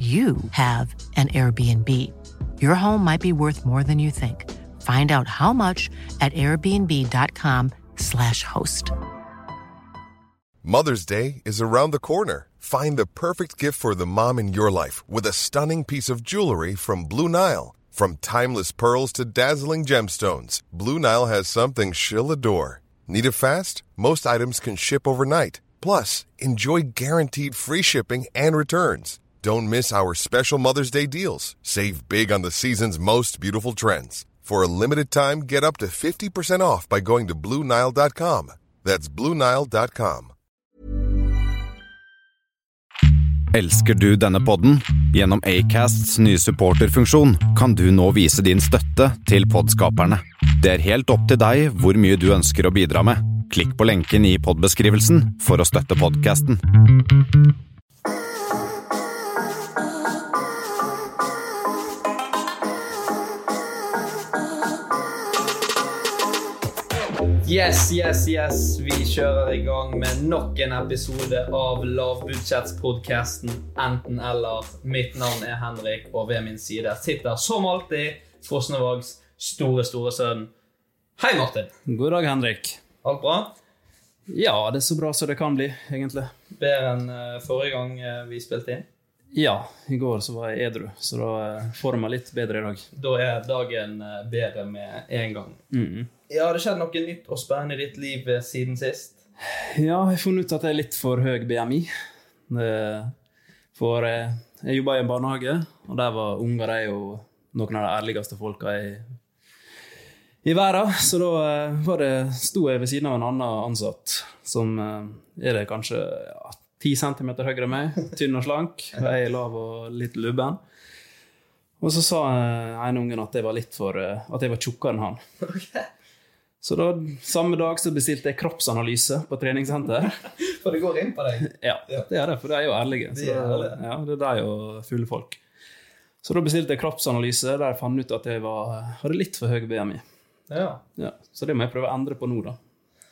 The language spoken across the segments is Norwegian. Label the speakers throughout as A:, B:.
A: you have an Airbnb. Your home might be worth more than you think. Find out how much at airbnb.com/slash host.
B: Mother's Day is around the corner. Find the perfect gift for the mom in your life with a stunning piece of jewelry from Blue Nile. From timeless pearls to dazzling gemstones, Blue Nile has something she'll adore. Need it fast? Most items can ship overnight. Plus, enjoy guaranteed free shipping and returns. Don't miss our special Mother's Day deals. Save big on the season's most beautiful trends. For a limited time, get up to 50% off by going to Blue Nile.com. That's Blue Nile.com.
C: Elsker du denne podden? Gjennom Acasts nye supporterfunksjon kan du nå vise din støtte til podskaperne. Det er helt opp til deg hvor mye du ønsker å bidra med. Klikk på lenken i podbeskrivelsen for å støtte podkasten.
D: Yes, yes, yes. Vi kjører i gang med nok en episode av Lavbudsjettspodkasten Enten-eller. Mitt navn er Henrik, og ved min side sitter som alltid Fosnevags store, store sønn. Hei, Martin.
E: God dag, Henrik.
D: Alt bra?
E: Ja, det er så bra som det kan bli, egentlig.
D: Bedre enn eh, forrige gang eh, vi spilte inn.
E: Ja, i går så var jeg edru, så da eh, får jeg meg litt bedre i dag.
D: Da er dagen eh, bedre med en gang.
E: Mhm.
D: Ja, har det skjedd noe nytt og spennende i ditt liv eh, siden sist?
E: Ja, jeg har funnet ut at jeg er litt for høy BMI. Det- For eh, jeg jobba i en barnehage, og der var unger de jo noen av de ærligste folka i, i verden. Så da eh, var det, sto jeg ved siden av en annen ansatt som eh, er det kanskje ja, 10 cm høyere enn meg. Tynn og slank. Og jeg er lav og litt lubben. Og så sa eh, en ungen at jeg var litt for eh, At jeg var tjukkere enn han. Så da, samme dag så bestilte jeg kroppsanalyse på treningssenter.
D: For det går inn på deg.
E: Ja,
D: Ja.
E: det er det, for de er jo ærlige.
D: De
E: Så,
D: er ærlige.
E: ja, det er de og fulle folk. Så da bestilte jeg kroppsanalyse, der jeg fant ut at jeg var, hadde litt for høy BMI.
D: Ja.
E: Ja, så det må jeg prøve å endre på nå, da.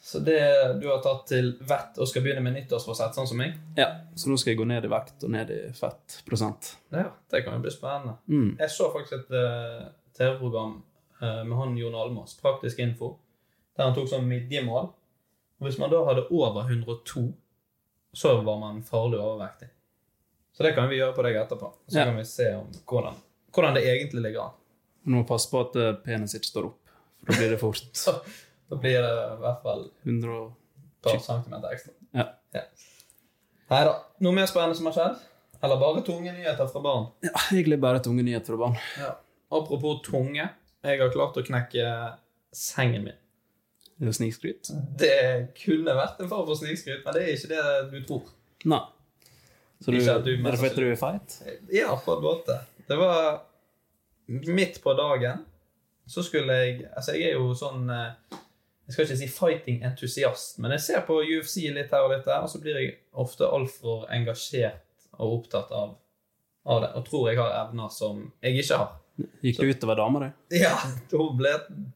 D: Så det du har tatt til vett og skal begynne med nyttårsforsett, sånn som meg?
E: Ja, Så nå skal jeg gå ned i vekt og ned i fettprosent.
D: Ja, det kan jo bli spennende.
E: Mm.
D: Jeg så faktisk et eh, TV-program eh, med han Jon Almaas, Praktisk info, der han tok sånn midjemål. Og hvis man da hadde over 102, så var man farlig overvektig. Så det kan vi gjøre på deg etterpå. Så
E: Ja.
D: kan vi se om hvordan, hvordan det egentlig ligger an.
E: Nå må jeg passe på at eh, penis ikke står opp, for da blir det fort
D: Så da blir det i hvert fall
E: 100 og...
D: et par centimeter ekstra.
E: Ja.
D: Nei da. Noe mer spennende som har skjedd? Eller bare tunge nyheter fra barn?
E: ja, egentlig bare tunge nyheter fra barn.
D: Ja. Apropos tunge. Jeg har klart å knekke sengen min.
E: Det er jo Snikskryt.
D: Det kunne vært en form for snikskryt, men det er ikke det du tror.
E: Nei. Så du,
D: Ikke at du-
E: er det fordi du er feit?
D: Ja, på en måte. Det var midt på dagen, så skulle jeg Altså, jeg er jo sånn eh, Jeg skal ikke si fighting-entusiast, men jeg ser på UFC litt her og litt der, og så blir jeg ofte altfor engasjert og opptatt av, av det, og tror jeg har evner som jeg ikke har.
E: Gikk det utover damer, det?
D: Ja, hun ble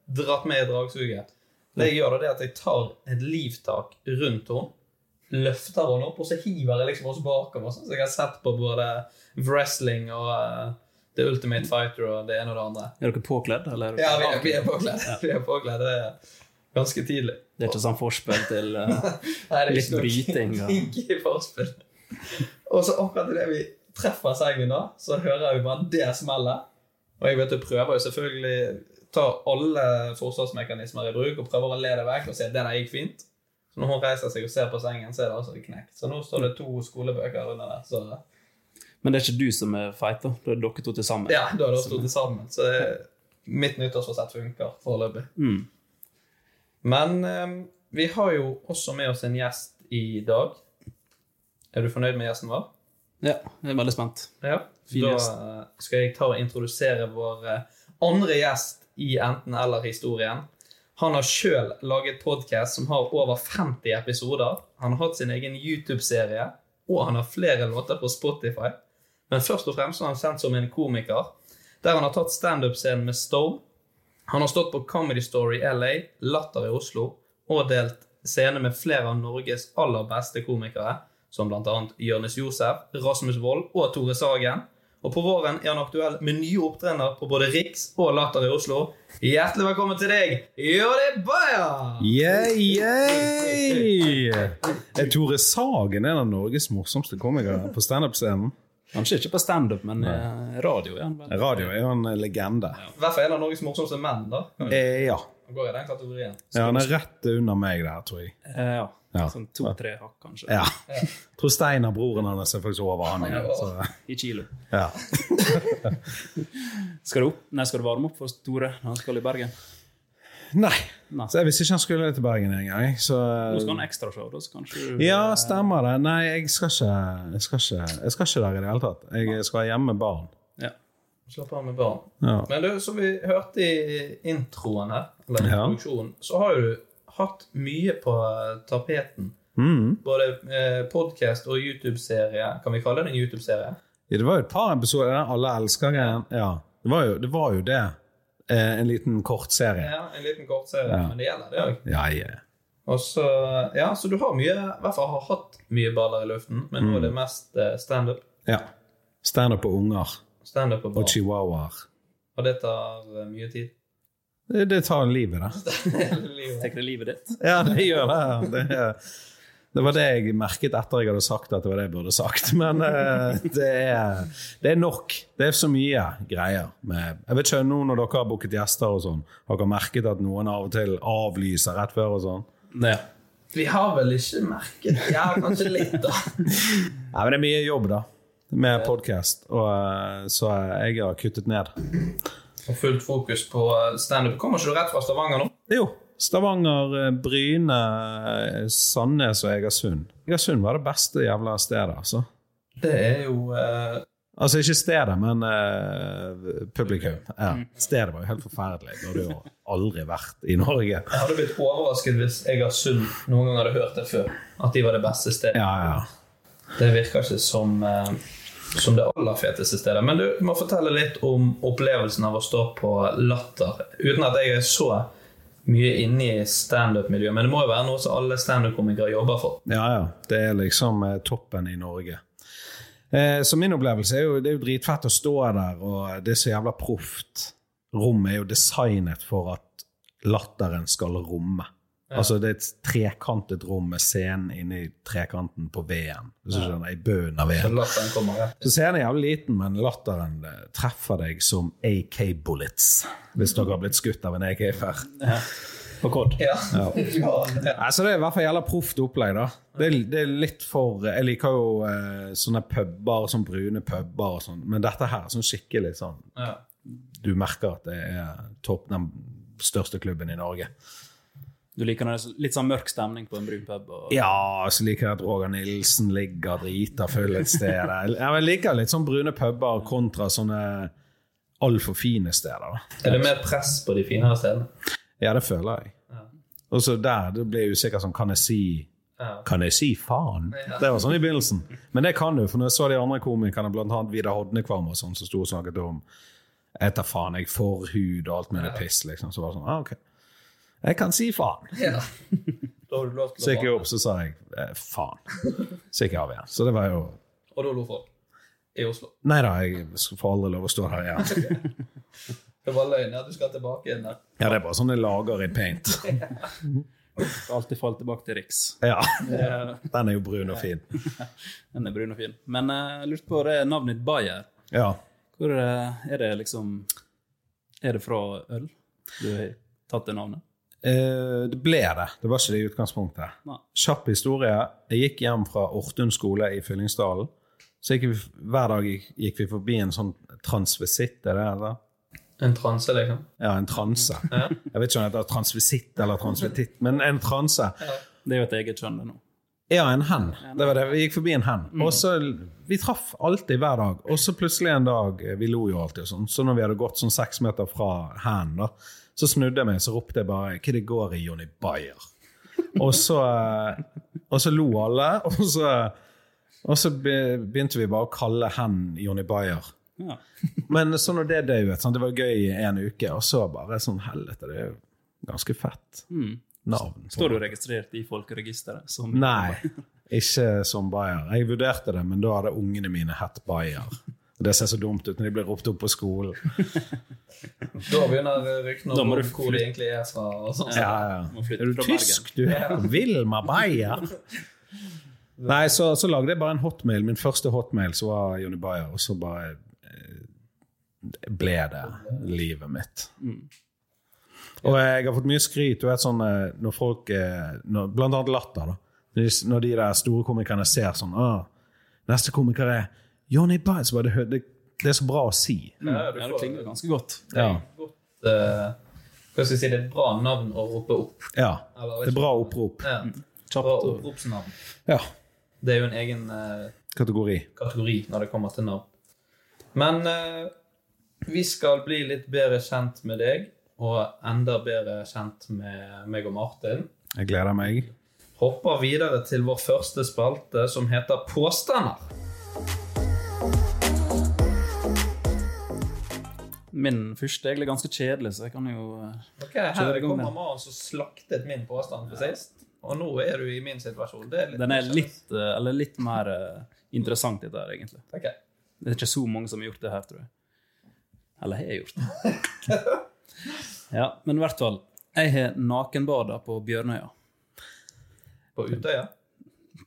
D: dratt med i dragsuget. Det jeg gjør, da, det er at jeg tar et livtak rundt henne, løfter henne opp, og så hiver jeg liksom oss bakover. Sånn som jeg har sett på både wrestling og eh, The Ultimate Fighter og det ene og det andre.
E: Er dere påkledd, eller?
D: Ja, vi er, vi er påkledd. Vi er påkledd. Det er ganske tidlig.
E: Det er ikke sånn forspill til eh,
D: Nei, det er
E: Litt
D: ikke noe
E: bryting, ja.
D: kink i forspill. Og så akkurat idet vi treffer sengen da, så hører jeg jo bare det smellet. Og jeg vet du prøver jo selvfølgelig ta alle forsvarsmekanismer i bruk og prøver å le det vekk og si at det der gikk fint. Så når hun reiser seg og ser på sengen, så er det altså knekt. Så nå står det to skolebøker under der. Så
E: Men det er ikke du som er feit, da. Det er dere to til sammen.
D: ja, da har det stått sammen. Så det, mitt nyttårsforsett funker foreløpig.
E: Mm.
D: Men eh, vi har jo også med oss en gjest i dag. Er du fornøyd med gjesten vår?
E: ja. Jeg er veldig spent.
D: Ja,
E: Fin
D: da
E: gjest.
D: eh, skal jeg ta og introdusere vår eh, andre gjest i Enten eller-historien. Han har sjøl laget podkast som har over 50 episoder. Han har hatt sin egen YouTube-serie, og han har flere låter på Spotify. Men først og fremst er han kjent som en komiker, der han har tatt standup-scenen med Stone. Han har stått på Comedy Story LA, Latter i Oslo, og delt scene med flere av Norges aller beste komikere, som bl.a. Jonis Josef, Rasmus Wold og Tore Sagen. Og på våren er han aktuell med nye opptredener på både Riks og Latter i Oslo. Hjertelig velkommen til deg, Jodi Bayer!
F: Yeah, yeah! Er Tore Sagen en av Norges morsomste komikere på standup-scenen?
E: Kanskje ikke på standup, men eh, radio. Ja.
F: Radio er jo en legende.
D: I hvert fall en av Norges morsomste menn, da.
F: Eh, ja.
D: Han går i den kategorien.
F: ja. Han er rett under meg der, tror jeg.
E: Eh, ja.
F: Ja.
E: Sånn to-tre hakk, kanskje.
F: Ja. Tror Steinar, broren hans, er faktisk over han igjen. Så,
E: I kilo.
F: ja.
E: Skal du opp? Nei, skal du varme opp for Tore når han skal i Bergen?
F: Nei.
E: Nei.
F: Så jeg visste ikke han skulle til Bergen engang. jeg, Så
E: Nå skal han ha ekstrashow, da, så kanskje du
F: Ja, stemmer det. Nei, jeg skal ikke, jeg skal ikke, jeg skal ikke der i det hele tatt. Jeg skal hjemme med barn.
E: Ja.
D: Slapp av med barn.
F: Ja.
D: Men du, som vi hørte i introen her, eller
F: Ja.
D: introduksjonen, så har jo du hatt mye på tapeten.
F: Mm.
D: Både eh, podkast og YouTube-serie. Kan vi kalle det en YouTube-serie?
F: Ja, det var jo et par episoder der alle elsker greien. Ja, det var jo det. Var jo det. Eh, en liten kort serie.
D: Ja, en liten kortserie,
F: Ja.
D: men det gjelder det òg.
F: Ja, ja.
D: Og så Ja, så du har mye I hvert fall har hatt mye baller i luften, men nå er det mest eh, standup.
F: ja. Standup på unger
D: Standup og
F: og
D: barn.
F: chihuahuaer.
D: Og det tar eh, mye tid.
F: Det, det tar livet, da.
E: Tek det livet ditt.
F: Ja, det gjør det. det. Det var det jeg merket etter jeg hadde sagt at det var det jeg burde sagt. Men eh, det, er, det er nok. Det er så mye greier. Med, jeg vet ikke, nå når dere har booket gjester og sånn, har dere merket at noen av og til avlyser rett før og sånn?
E: Ja.
D: Vi har vel ikke merket Ja, kanskje litt, da.
F: Nei, men det er mye jobb, da. Med podkast. Så jeg har kuttet ned.
D: Og fullt fokus på eh, standup. Kommer ikke du rett fra Stavanger nå?
F: Jo. Stavanger, eh, Bryne, eh, Sandnes og Egersund. Egersund var det beste jævla stedet, altså.
D: Det er jo eh,
F: Altså ikke stedet, men eh, publikum. Ja. Stedet var jo helt forferdelig. Jeg hadde jo aldri vært i Norge.
D: Jeg hadde blitt overrasket hvis Egersund noen gang hadde hørt det før. At de var det beste stedet.
F: Ja, ja.
D: Det virker ikke som, eh, som det aller feteste stedet. Men du må fortelle litt om opplevelsen av å stå på Latter. Uten at jeg er så mye inne i standup-miljøet, men det må jo være noe som alle standup-komikere jobber for.
F: Ja, ja. Det er liksom eh, toppen i Norge. Eh, så min opplevelse er jo det er jo dritfett å stå der, og det er så jævla proft. Rommet er jo designet for at latteren skal romme. Altså det er et trekantet rom med scenen inni trekanten på V-en. Hvis du skjønner, I bunnen av V-en.
D: Latteren kommer rett.
F: Så scenen er jævlig liten, men latteren eh, treffer deg som AK-bullets. Hvis dere har blitt skutt av en AK-fer.
E: På kod.
D: Ja.
F: Ja.
D: Ja.
F: Nei, så Altså, Det er i hvert fall jævla proft opplegg. da. Det er, det er litt for Jeg liker jo eh, sånne puber, sånn brune puber og sånn, men dette her er sånn skikkelig sånn
D: Ja.
F: Du merker at det er topp, den største klubben i Norge.
E: Du liker når det er så- litt sånn mørk stemning på en brun pub? Og...
F: Ja, så liker jeg at Roger Nilsen ligger drita full et sted. Jeg, jeg liker litt sånn brune puber kontra sånne altfor fine steder. da.
D: Er det mer press på de finere stedene?
F: Ja, det føler jeg. Og så der, det ble jeg usikker sånn, kan jeg si
D: Ja.
F: Kan jeg si faen? Det var sånn i begynnelsen. Men det kan du, for når jeg så de andre komikerne, bl.a. Vidar Hodnekvam og sånn, som sto og snakket om jeg tar faen, jeg får hud og alt mulig piss, liksom. Så var det sånn, ah, ok. Jeg kan si faen.
D: Ja. Da har du lov
F: Så
D: til å
F: gikk jeg opp, så sa jeg eh, faen. Så gikk jeg av igjen. Så det var jo
D: Og da lo folk. I Oslo.
F: Nei da, jeg får aldri lov å stå her igjen.
D: Det var løgn at du skal tilbake igjen der.
F: sånn Ja, det er bare sånne lager i paint.
E: alltid falle tilbake til Riks.
F: Ja,
E: Eh,
F: Den er jo brun og fin.
E: Den er brun og fin. Men eh, jeg lurte på det navnet Bayer.
F: Ja.
E: Hvor eh, er det liksom Er det fra øl? Du har tatt det navnet?
F: Eh, det ble det. Det var ikke det i utgangspunktet.
E: Nei.
F: Kjapp historie. Jeg gikk hjem fra Ortun skole i Fyllingsdalen. Så gikk vi, hver dag gikk, gikk vi forbi en sånn transvisitt, er det eller?
D: En transe, liksom.
F: Ja, en transe. Jeg vet ikke om det heter transvisitt eller transvititt, men en transe.
E: Det er jo et eget kjønn det nå.
F: Ja, en hen. Det var det. Mm. Vi gikk forbi en hen. Og så, Vi traff alltid hver dag. Og så plutselig en dag eh, Vi lo jo alltid og sånn. Så når vi hadde gått sånn seks meter fra hen, da, så snudde jeg meg så ropte jeg bare 'Hva det går i Jonny Bayer?' Og så, eh, og så lo alle, og så, og så be- begynte vi bare å kalle hen Jonny Bayer.
E: Ja.
F: Men så når det døde, sant, det var gøy i en uke, og så bare sånn helvete, det er jo ganske fett navn.
E: Står du registrert i folkeregisteret? Som
F: Nei, ikke som Bayer. Jeg vurderte det, men da hadde ungene mine hett Bayer. Og Det ser så dumt ut når de blir ropt opp på skolen.
D: Da begynner ryktene
E: Da
D: om
E: må du
D: hvor de egentlig er fra. og sånn.
F: Ja,
E: Må
F: ja.
E: flytte
F: Er du
E: fra
F: tysk, du? Vilma Bayer? Nei, så, så lagde jeg bare en hotmail. Min første hotmail så var Jonny Bayer, og så bare eh, ble det livet mitt. Og jeg har fått mye skryt. Du vet sånn eh, når folk eh, når, Blant annet Latter, da. Når de- Når de der store komikerne ser sånn ah, 'Neste komiker er Jonny Bayer', så bare det, hø- det, det er så bra å si.
D: Ja, du
E: Ja, det
D: får-
E: klinger ganske godt.
F: Ja.
D: godt eh, Hva skal jeg si, det er et bra navn å rope opp.
F: ja.
D: Eller, vet
F: Det er
D: ikke.
F: bra opprop.
D: Ja. Bra oppropsnavn.
F: Ja.
D: Det er jo en egen eh,
F: Kategori.
D: kategori når det kommer til navn. Men eh, vi skal bli litt bedre kjent med deg, og enda bedre kjent med meg og Martin.
F: Jeg gleder meg.
D: Hopper videre til vår første spalte, som heter Påstander.
E: Min første er egentlig ganske kjedelig, så jeg kan jo eh,
D: Ok, Her
E: Kjør i gang,
D: kommer
E: da.
D: mannen som slaktet min påstand for sist, og nå er du i min situasjon. Det er litt
E: Den er litt, eh, eller litt mer eh, interessant, dette her, egentlig.
D: Ok.
E: Det er ikke så mange som har gjort det her, tror jeg. Eller har gjort det. ja, men i hvert fall. Jeg har nakenbada på Bjørnøya.
D: På Utøya.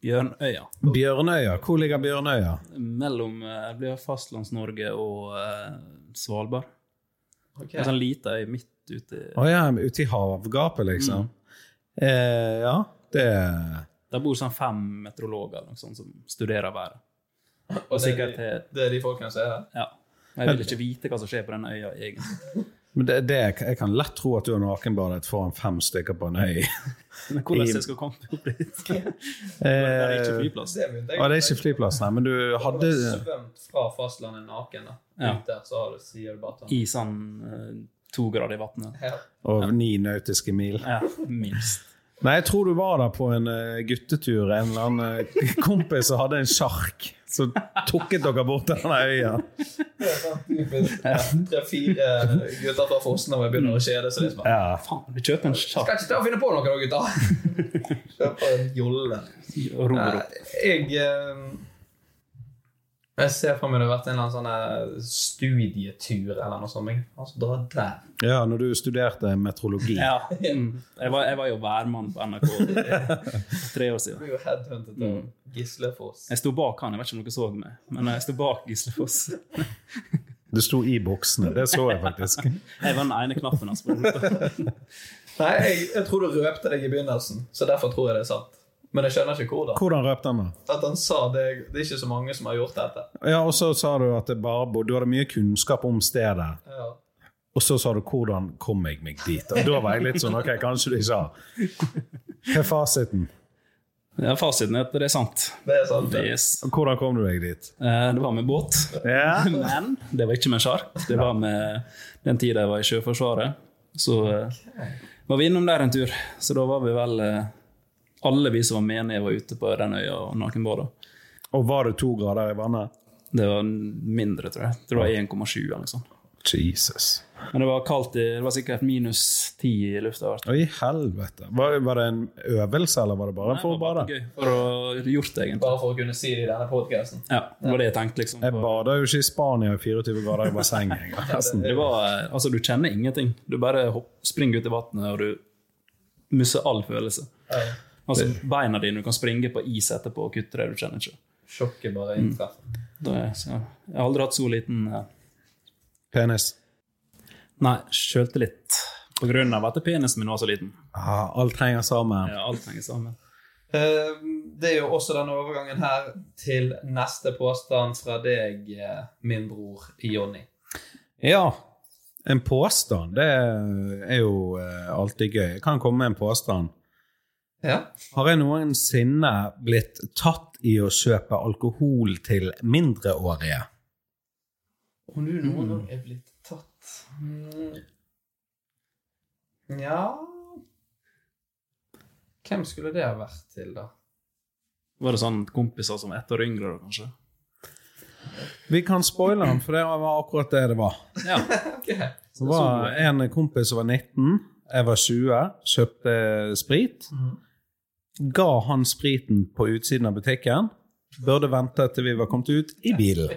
E: Bjørnøya.
F: Bjørnøya. Hvor ligger Bjørnøya?
E: Mellom eh, det blir Fastlands-Norge og eh, Svalbard.
D: Ok.
E: En sånn lita øy midt ute i
F: Å ja, ute i havgapet, liksom. Eh, ja, det
E: Der bor sånn fem meteorologer eller noe sånt, som studerer været.
D: Og det er,
E: sikkert
D: de,
E: til-
D: det er de folkene som er her.
E: Ja. Jeg vil ikke vite hva som skjer på den øya, egentlig.
F: Men det, det, jeg kan lett tro at du har nakenbadet foran fem stykker på en øy.
E: Men hvordan jeg skal komme opp dit? Det er ikke
F: Eh,
E: flyplass.
D: Det begynte
F: og det er ikke flyplass, nei, men du
D: Har
F: hadde
D: du svømt fra fastlandet naken, da.
E: Ja.
D: Ut der, så har du, sier du bare til ham.
E: I sånn eh, to grader i vannet.
D: Ja.
F: og ni nautiske mil.
E: Ja, minst.
F: Nei, jeg tror du var der på en eh, guttetur. En eller annen eh, kompis som hadde en sjark. Så tukket dere bort til denne øya.
D: sånn Tre-fire eh, gutter fra Fosen og jeg begynner
E: Mm.
D: å kjede seg. Liksom.
F: Ja.
E: Faen, du kjøper en sjakk
D: Skal ikke ta og finne på noe, da, gutter! Kjøp en jolle.
E: og ror opp.
D: Nei, Jeg eh, Jeg ser for meg det har vært en eller annen sånn eh, studietur eller noe sånt. Jeg altså, dra der.
F: ja, når du studerte meteorologi.
E: Ja. Mm. Jeg, var, jeg var jo værmann på NRK for tre år siden.
D: Du er jo headhuntet til
E: Mm.
D: Gislefoss.
E: Jeg sto bak han, jeg vet ikke om dere så meg, men jeg sto bak Gislefoss.
F: Det sto i buksene. Det så jeg faktisk.
E: Jeg var den ene knappen hans. på roret.
D: Nei, jeg, jeg tror du røpte deg i begynnelsen, så derfor tror jeg det er sant. Men jeg skjønner ikke hvordan.
F: Hvordan røpte han det?
D: At han sa det, det er ikke så mange som har gjort dette.
F: Ja, og så sa du at det bare, bo- du hadde mye kunnskap om stedet.
D: Ja.
F: Og så sa du 'hvordan kom jeg meg dit'? Og da var jeg litt sånn Ok, kanskje du ikke har Hva er fasiten?
E: Ja, fasiten er at det er sant.
D: Det er sant. det.
E: Yes.
F: Hvordan kom du deg dit?
E: Eh, Det var med båt.
F: Ja.
E: Men det var ikke med sjark. Det var med den tida jeg var i Sjøforsvaret. Så eh, var vi innom der en tur. Så da var vi vel eh, Alle vi som var menige, var ute på den øya og nakenbada.
F: Og var det to grader i vannet?
E: Det var mindre, tror jeg. Jeg tror Det var 1,7 eller noe sånt.
F: Jesus.
E: Men det var kaldt. i- Det var sikkert minus 10 i lufta. hvert
F: Å,
E: fall.
F: i helvete. Var, var det en øvelse, eller var det bare for å
E: Det var
F: bade?
E: gøy for å ha gjort det, egentlig.
D: Bare for å kunne si det i denne podcasten.
E: Ja, det var det jeg tenkte, liksom.
F: Jeg bada jo ikke i Spania i 24 grader i bassenget. jeg, forresten.
E: Det var, eh, altså, du kjenner ingenting. Du bare hopp, springer ut i vannet, og du miste all følelse. Altså, beina dine, du kan springe på is etterpå og kutte det, du kjenner ikke.
D: Sjokket bare inntreffer.
E: Da er, så, jeg har aldri hatt så liten eh,
F: Penis.
E: Nei, sjøltillit. På grunn av at penisen min var så liten.
F: Ah, alt henger sammen.
E: Ja, alt henger sammen.
D: Eh, Det er jo også denne overgangen her til neste påstand fra deg, eh, min bror Jonny.
F: Ja. En påstand, det er jo eh, alltid gøy. Jeg kan komme med en påstand.
D: Ja.
F: Har jeg noensinne blitt tatt i å kjøpe alkohol til mindreårige?
D: Om du noen gang er blitt tatt mm. Ja Hvem skulle det ha vært til, da?
E: Var det sånn kompiser som ett år yngre, da, kanskje?
F: Vi kan spoile den, for det var akkurat det det var.
E: Ja.
D: Ok.
F: Det var en kompis som var 19, jeg var 20, kjøpte sprit. Ga han spriten på utsiden av butikken. Burde vente til vi var kommet ut i bilen.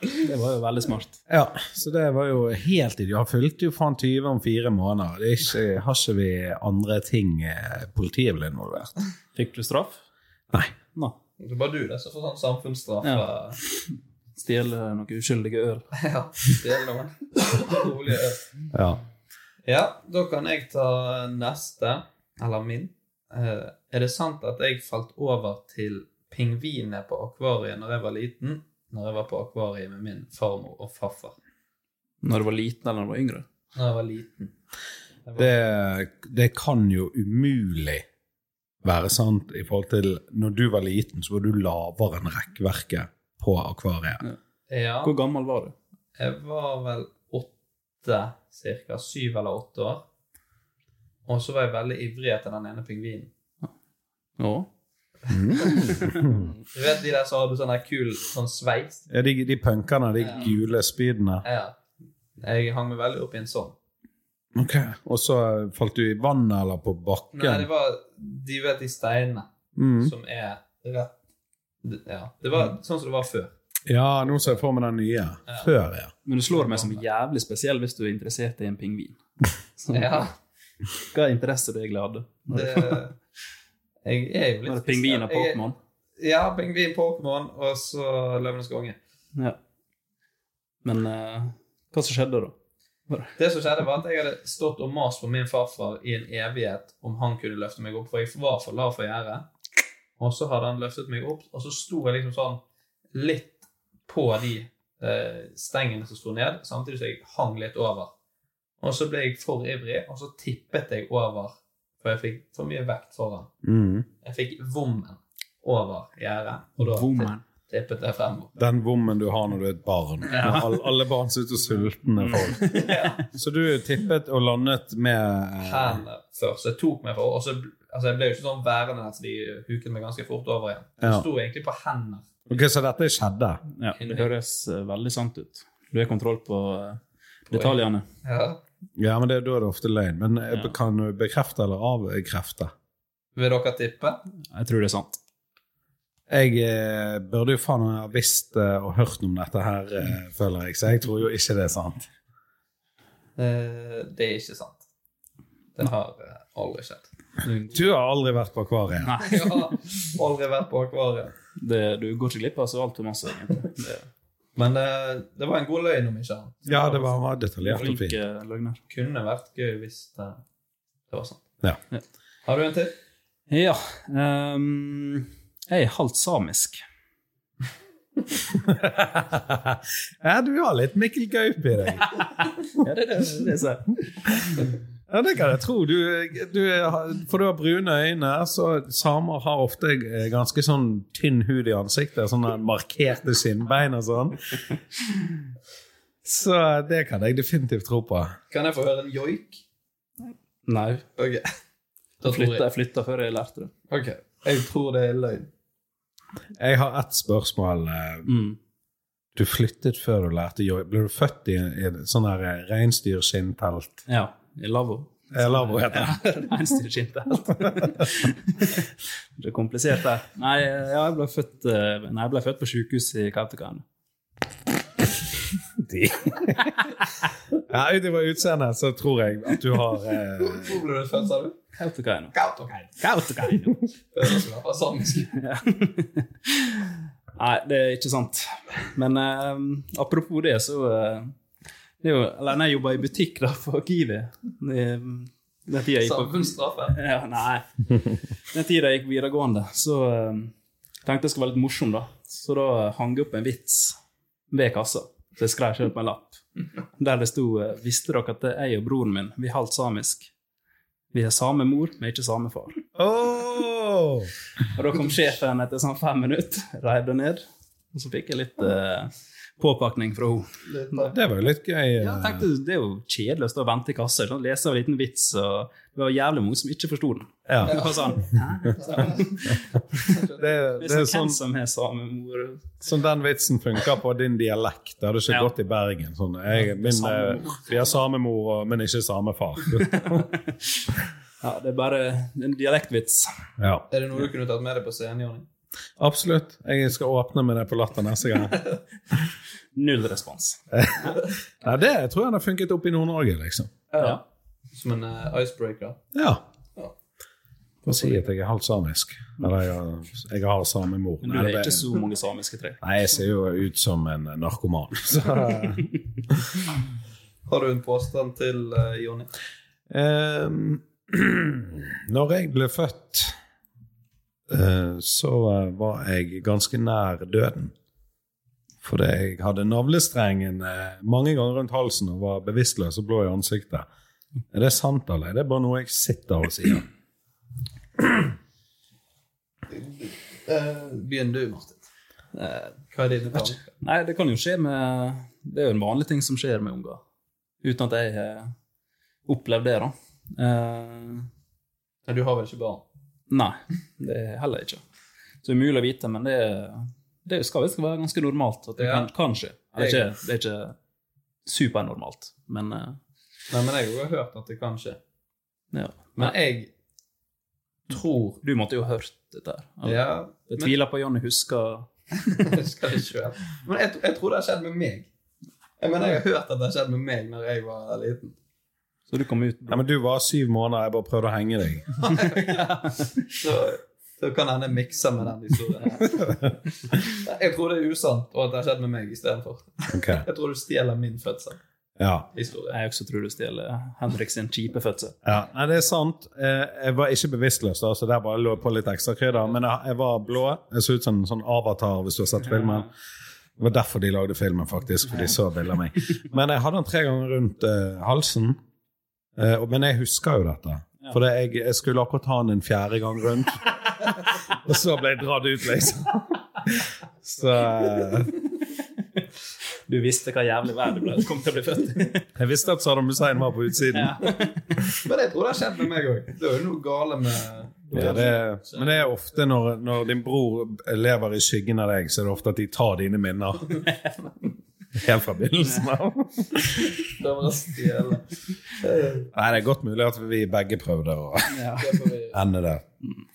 E: Det var jo veldig smart.
F: Ja, så det var jo helt idiot. Han fylte jo faen 20 om fire måneder. Det er ikke, har ikke vi andre ting eh, politiet blir involvert?
E: Fikk du straff?
F: Nei.
E: Nei.
D: Det var du det som får sånn samfunnsstraff.
E: Ja.
D: eh,
E: Stjele noen uskyldige øl.
D: Ja. Det er noen. Rolig, eh.
F: Ja.
D: Ja, da kan jeg ta neste, eller min. Eh, er det sant at jeg falt over til pingviner på akvariet når jeg var liten? Når jeg var på akvariet med min farmor og farfar.
E: Når du var liten eller når du var yngre?
D: Når jeg var liten.
F: Det, det kan jo umulig være sant i forhold til når du var liten, så var du lavere enn rekkverket på akvariet.
D: Ja,
E: Hvor gammel var du?
D: jeg var vel åtte, cirka. Syv eller åtte år. Og så var jeg veldig ivrig etter den ene pingvinen.
E: Ja.
D: Du vet de der som hadde sånn der kul sånn sveis?
F: Ja, de, de punkene, de gule spydene.
D: Ja. Jeg hang meg veldig opp i en sånn.
F: Ok. Og så falt du i vannet eller på
D: Nei, det
F: bakken?
D: var De vet de steinene
F: Mm.
D: som er rett det- Ja. Det var sånn som det var før.
F: Ja, nå ser jeg for meg den nye. Før, ja.
E: Men du slår meg som jævlig spesiell hvis du er interessert i en pingvin. Så,
D: Ja,
E: Hva interesse det egentlig hadde? Var
D: det
E: det,
D: Jeg er jo litt
E: var det pingvin og
D: spesiell. Jeg-
E: Pokémon?
D: Ja, pingvin, Pokémon og så Løvenes konge.
E: Ja. Men eh, hva som skjedde da?
D: Det som skjedde, var at jeg hadde stått og mast på min farfar i en evighet om han kunne løfte meg opp, for jeg var for lav for gjerdet. Og så hadde han løftet meg opp, og så sto jeg liksom sånn litt på de eh, stengene som sto ned, samtidig som jeg hang litt over. Og så ble jeg for ivrig, og så tippet jeg over, for jeg fikk for mye vekt foran.
F: Mm.
D: Jeg fikk vommen over gjerdet, og da
E: Vommen.
D: tippet jeg fremover.
F: Den vommen du har når du er et barn. Når alle, alle barn ser ut som sultne folk. Så du tippet og landet med eh,
D: Hendene først. Jeg tok meg for, og så altså jeg ble jo ikke sånn værende der, så de huket meg ganske fort over igjen. Jeg
F: Ja.
D: sto egentlig på hender.
F: Ok, Så dette skjedde?
E: Ja, det høres eh, veldig sant ut. Du har kontroll på eh, detaljene.
D: Ja.
F: Ja, men det, da er det ofte løgn. Men eh,
E: Ja.
F: kan du bekrefte eller avkrefte?
D: Vil dere tippe?
E: Jeg tror det er sant.
F: Jeg eh, burde jo faen ha visst eh, og hørt om dette her, eh, føler jeg, så jeg tror jo ikke det er sant.
D: Eh, det er ikke sant. Det har eh, aldri skjedd.
F: Du har aldri vært på akvariet.
D: Jeg har aldri vært på akvariet.
E: Det, du går ikke glipp av så altfor masse. egentlig. Det er
D: Men eh, det var en god løgn om ikke annet.
F: Ja, det var, var detaljert og
E: flink
F: fint.
E: eh, løgner.
D: Kunne vært gøy hvis det, det var sant.
F: Ja.
D: Har du en til?
E: Ja. ehm, jeg er halvt samisk.
F: ja, du har litt Mikkel Gaup i deg.
E: Ja, det er det, det er det.
F: sånn. Ja, det kan jeg tro. Du, du, er- for du har brune øyne, så samer har ofte eh, ganske sånn tynn hud i ansiktet. Sånne markerte skinnbein og sånn. Så det kan jeg definitivt tro på.
D: Kan jeg få høre en joik?
E: Nei.
D: Ok. Da
E: Jeg
D: tror
E: flytta,
D: jeg.
E: jeg flytta før jeg lærte det.
D: Ok. Jeg tror det er løgn.
F: Jeg har ett spørsmål. eh,
E: Mm.
F: Du flyttet før du lærte joik. Ble du født i, i et sånn her eh, reinsdyrskinnfelt?
E: Ja. I lavvo.
F: Eller hva heter det?
E: Reinsdyrskinte helt. Det er komplisert der. Nei, ja, jeg ble født, eh, nei, jeg ble født på sykehus i Kautokeino.
F: i. ja, Ut ifra utseendet så tror jeg at du har eh,
D: Hvor ble du født, sa du?
E: Kautokeino.
D: Kautokeino.
E: Kautokeino.
D: Høres ut som samisk.
E: Ja. Nei, det er ikke sant. Men eh, apropos det, så eh, det er jo, eller, nei, Jeg jobba i butikk da, for Kiwi. Den tida jeg gikk på
D: Samfunnsstraffen.
E: ja, Nei. Den tida jeg gikk videregående, så eh, tenkte jeg skulle være litt morsom, da. Så da hang jeg opp en vits ved kassa. Så jeg skrev selv på en lapp der det sto eh, Visste dere at jeg og broren min vi er halvt samisk? Vi har same mor, men ikke same far.
F: Åh!
E: Og da kom sjefen etter sånn fem minutter, reiv det ned. Og så fikk jeg litt eh, påpakning fra henne.
F: Det var jo litt gøy. eh.
E: Jeg tenkte, Det er jo kjedelig å stå og vente i kassa. Sånn, lese av en liten vits, og det var jævlig mange som ikke forsto den.
F: Ja.
E: Det var sånn, Hæ?
F: Det,
E: Det
F: det
E: er
F: er sånn,
E: sånn, hvem som har same mor
F: sånn den vitsen funker på din dialekt. Det hadde ikke
E: Ja.
F: gått i Bergen. Sånn, jeg, min,
E: Same
F: eh, vi har same mor, og- men ikke same far.
E: Ja, det er bare en dialektvits.
F: ja.
D: Er det noe du kunne tatt med deg på scenen, Jonny?
F: Absolutt. Jeg skal åpne med det på Latter neste gang.
E: Null respons.
F: Nei, det tror jeg har funket opp i Nord-Norge, liksom.
E: Ja.
D: Som en eh, icebreaker?
F: Ja.
D: Ja.
F: Bare si at jeg er halvt samisk. Eller jeg, har- jeg har samme mor.
E: Men du
F: Nei,
E: har
F: det-
E: ikke så mange samiske tre.
F: Nei, jeg ser jo ut som en narkoman. Så,
D: Har du en påstand til eh, Jonny?
F: eh, når jeg ble født, eh, så eh, var jeg ganske nær døden. Fordi jeg hadde navlestrengen eh, mange ganger rundt halsen og var bevisstløs og blå i ansiktet. Er det sant, eller er det bare noe jeg sitter og sier?
D: Eh, Begynn du, Martin. Eh, Hva er dine tanker?
E: Nei, det kan jo skje med Det er jo en vanlig ting som skjer med unger. Uten at jeg har opplevd det, da. Eh,
D: Nei, Du har vel ikke barn?
E: nei, det er heller ikke. Så det er umulig å vite, men det, det skal visst være ganske normalt at det
D: Ja.
E: kan, kan skje. Eller ikke, det er ikke supernormalt, men eh,
D: Nei, men jeg har hørt at det kan skje.
E: ja.
D: Men jeg tror
E: Du måtte jo ha hørt dette her. eller?
D: Ja,
E: jeg
D: men
E: tviler på Jonny husker
D: jeg skal ikke selv. Men jeg, jeg tror det har skjedd med meg. Jeg mener, jeg har hørt at det har skjedd med meg når jeg var liten.
E: Så du kom ut
F: Nei, men Du var syv måneder, jeg bare prøvde å henge deg.
D: Så, så kan hende jeg mikser med den historien. Nei, Jeg tror det er usant, og at det har skjedd med meg istedenfor.
F: Ok.
D: Jeg tror du stjeler min fødselshistorie.
F: Ja.
E: Jeg også tror du stjeler Henrik sin kjipe fødsel.
F: ja. Nei, det er sant. Eh, Jeg var ikke bevisstløs, da, så der bare lå jeg på litt ekstra krydder. Men jeg jeg var blå. Jeg så ut som en sånn avatar, hvis du har sett filmen. Det var derfor de lagde filmen, faktisk, for de så bilder av meg. Men jeg hadde den tre ganger rundt eh, halsen. Eh, og- men jeg husker jo dette. For det, jeg, jeg skulle akkurat ha den en fjerde gang rundt. og så ble jeg dratt ut, liksom. Så eh,
E: Du visste hva jævlig vær det ble. kom til å bli født.
F: jeg visste at Saddam Hussein var på utsiden.
D: Men jeg tror det har skjedd med meg òg. Det er jo noe gale med
F: Ja, det, men det er ofte når, når din bror lever i skyggen av deg, så er det ofte at de tar dine minner. Helt fra begynnelsen av.
D: Det var stjele. Eh,
F: Nei, det er godt mulig at vi begge prøvde å
D: Det får vi
F: ende der.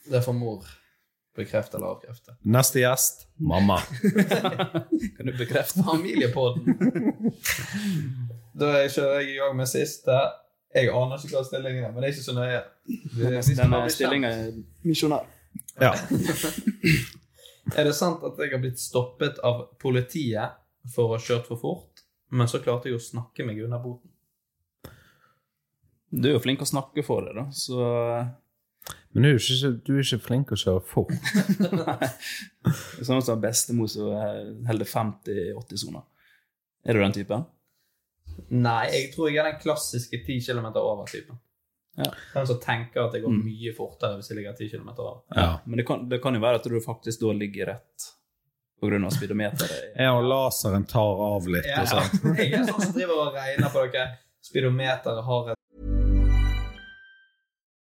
D: Det får mor bekrefte eller avkrefte.
F: Neste gjest mamma.
D: Kan du bekrefte familiepodden? da er jeg- kjører jeg i gang med siste. Jeg aner ikke hva stillingen er, men det er ikke så nøye. Det- vi skal
E: Denne
D: bare bli
E: stillinga
D: kjent.
E: er misjonær.
F: Ja.
D: Er det sant at jeg har blitt stoppet av politiet for å ha kjørt for fort, men så klarte jeg å snakke meg unna boten?
E: Du er jo flink å snakke for deg, da, så
F: Men du er ikke, du er ikke flink å kjøre fort.
E: det er Sånn som bestemor som holder 50 i 80-sona. Er du den typen?
D: Nei, jeg tror jeg er den klassiske 10 km over-typen.
E: Ja.
D: Den som tenker at det går mye fortere hvis jeg ligger 10 km over.
F: Ja.
E: Men det kan, det kan jo være at du faktisk da ligger rett pga. speedometeret.
F: Jeg og laseren tar av litt.
D: Ja,
F: Og sånn.
D: jeg er sånn som driver og regner på dere. Speedometeret har et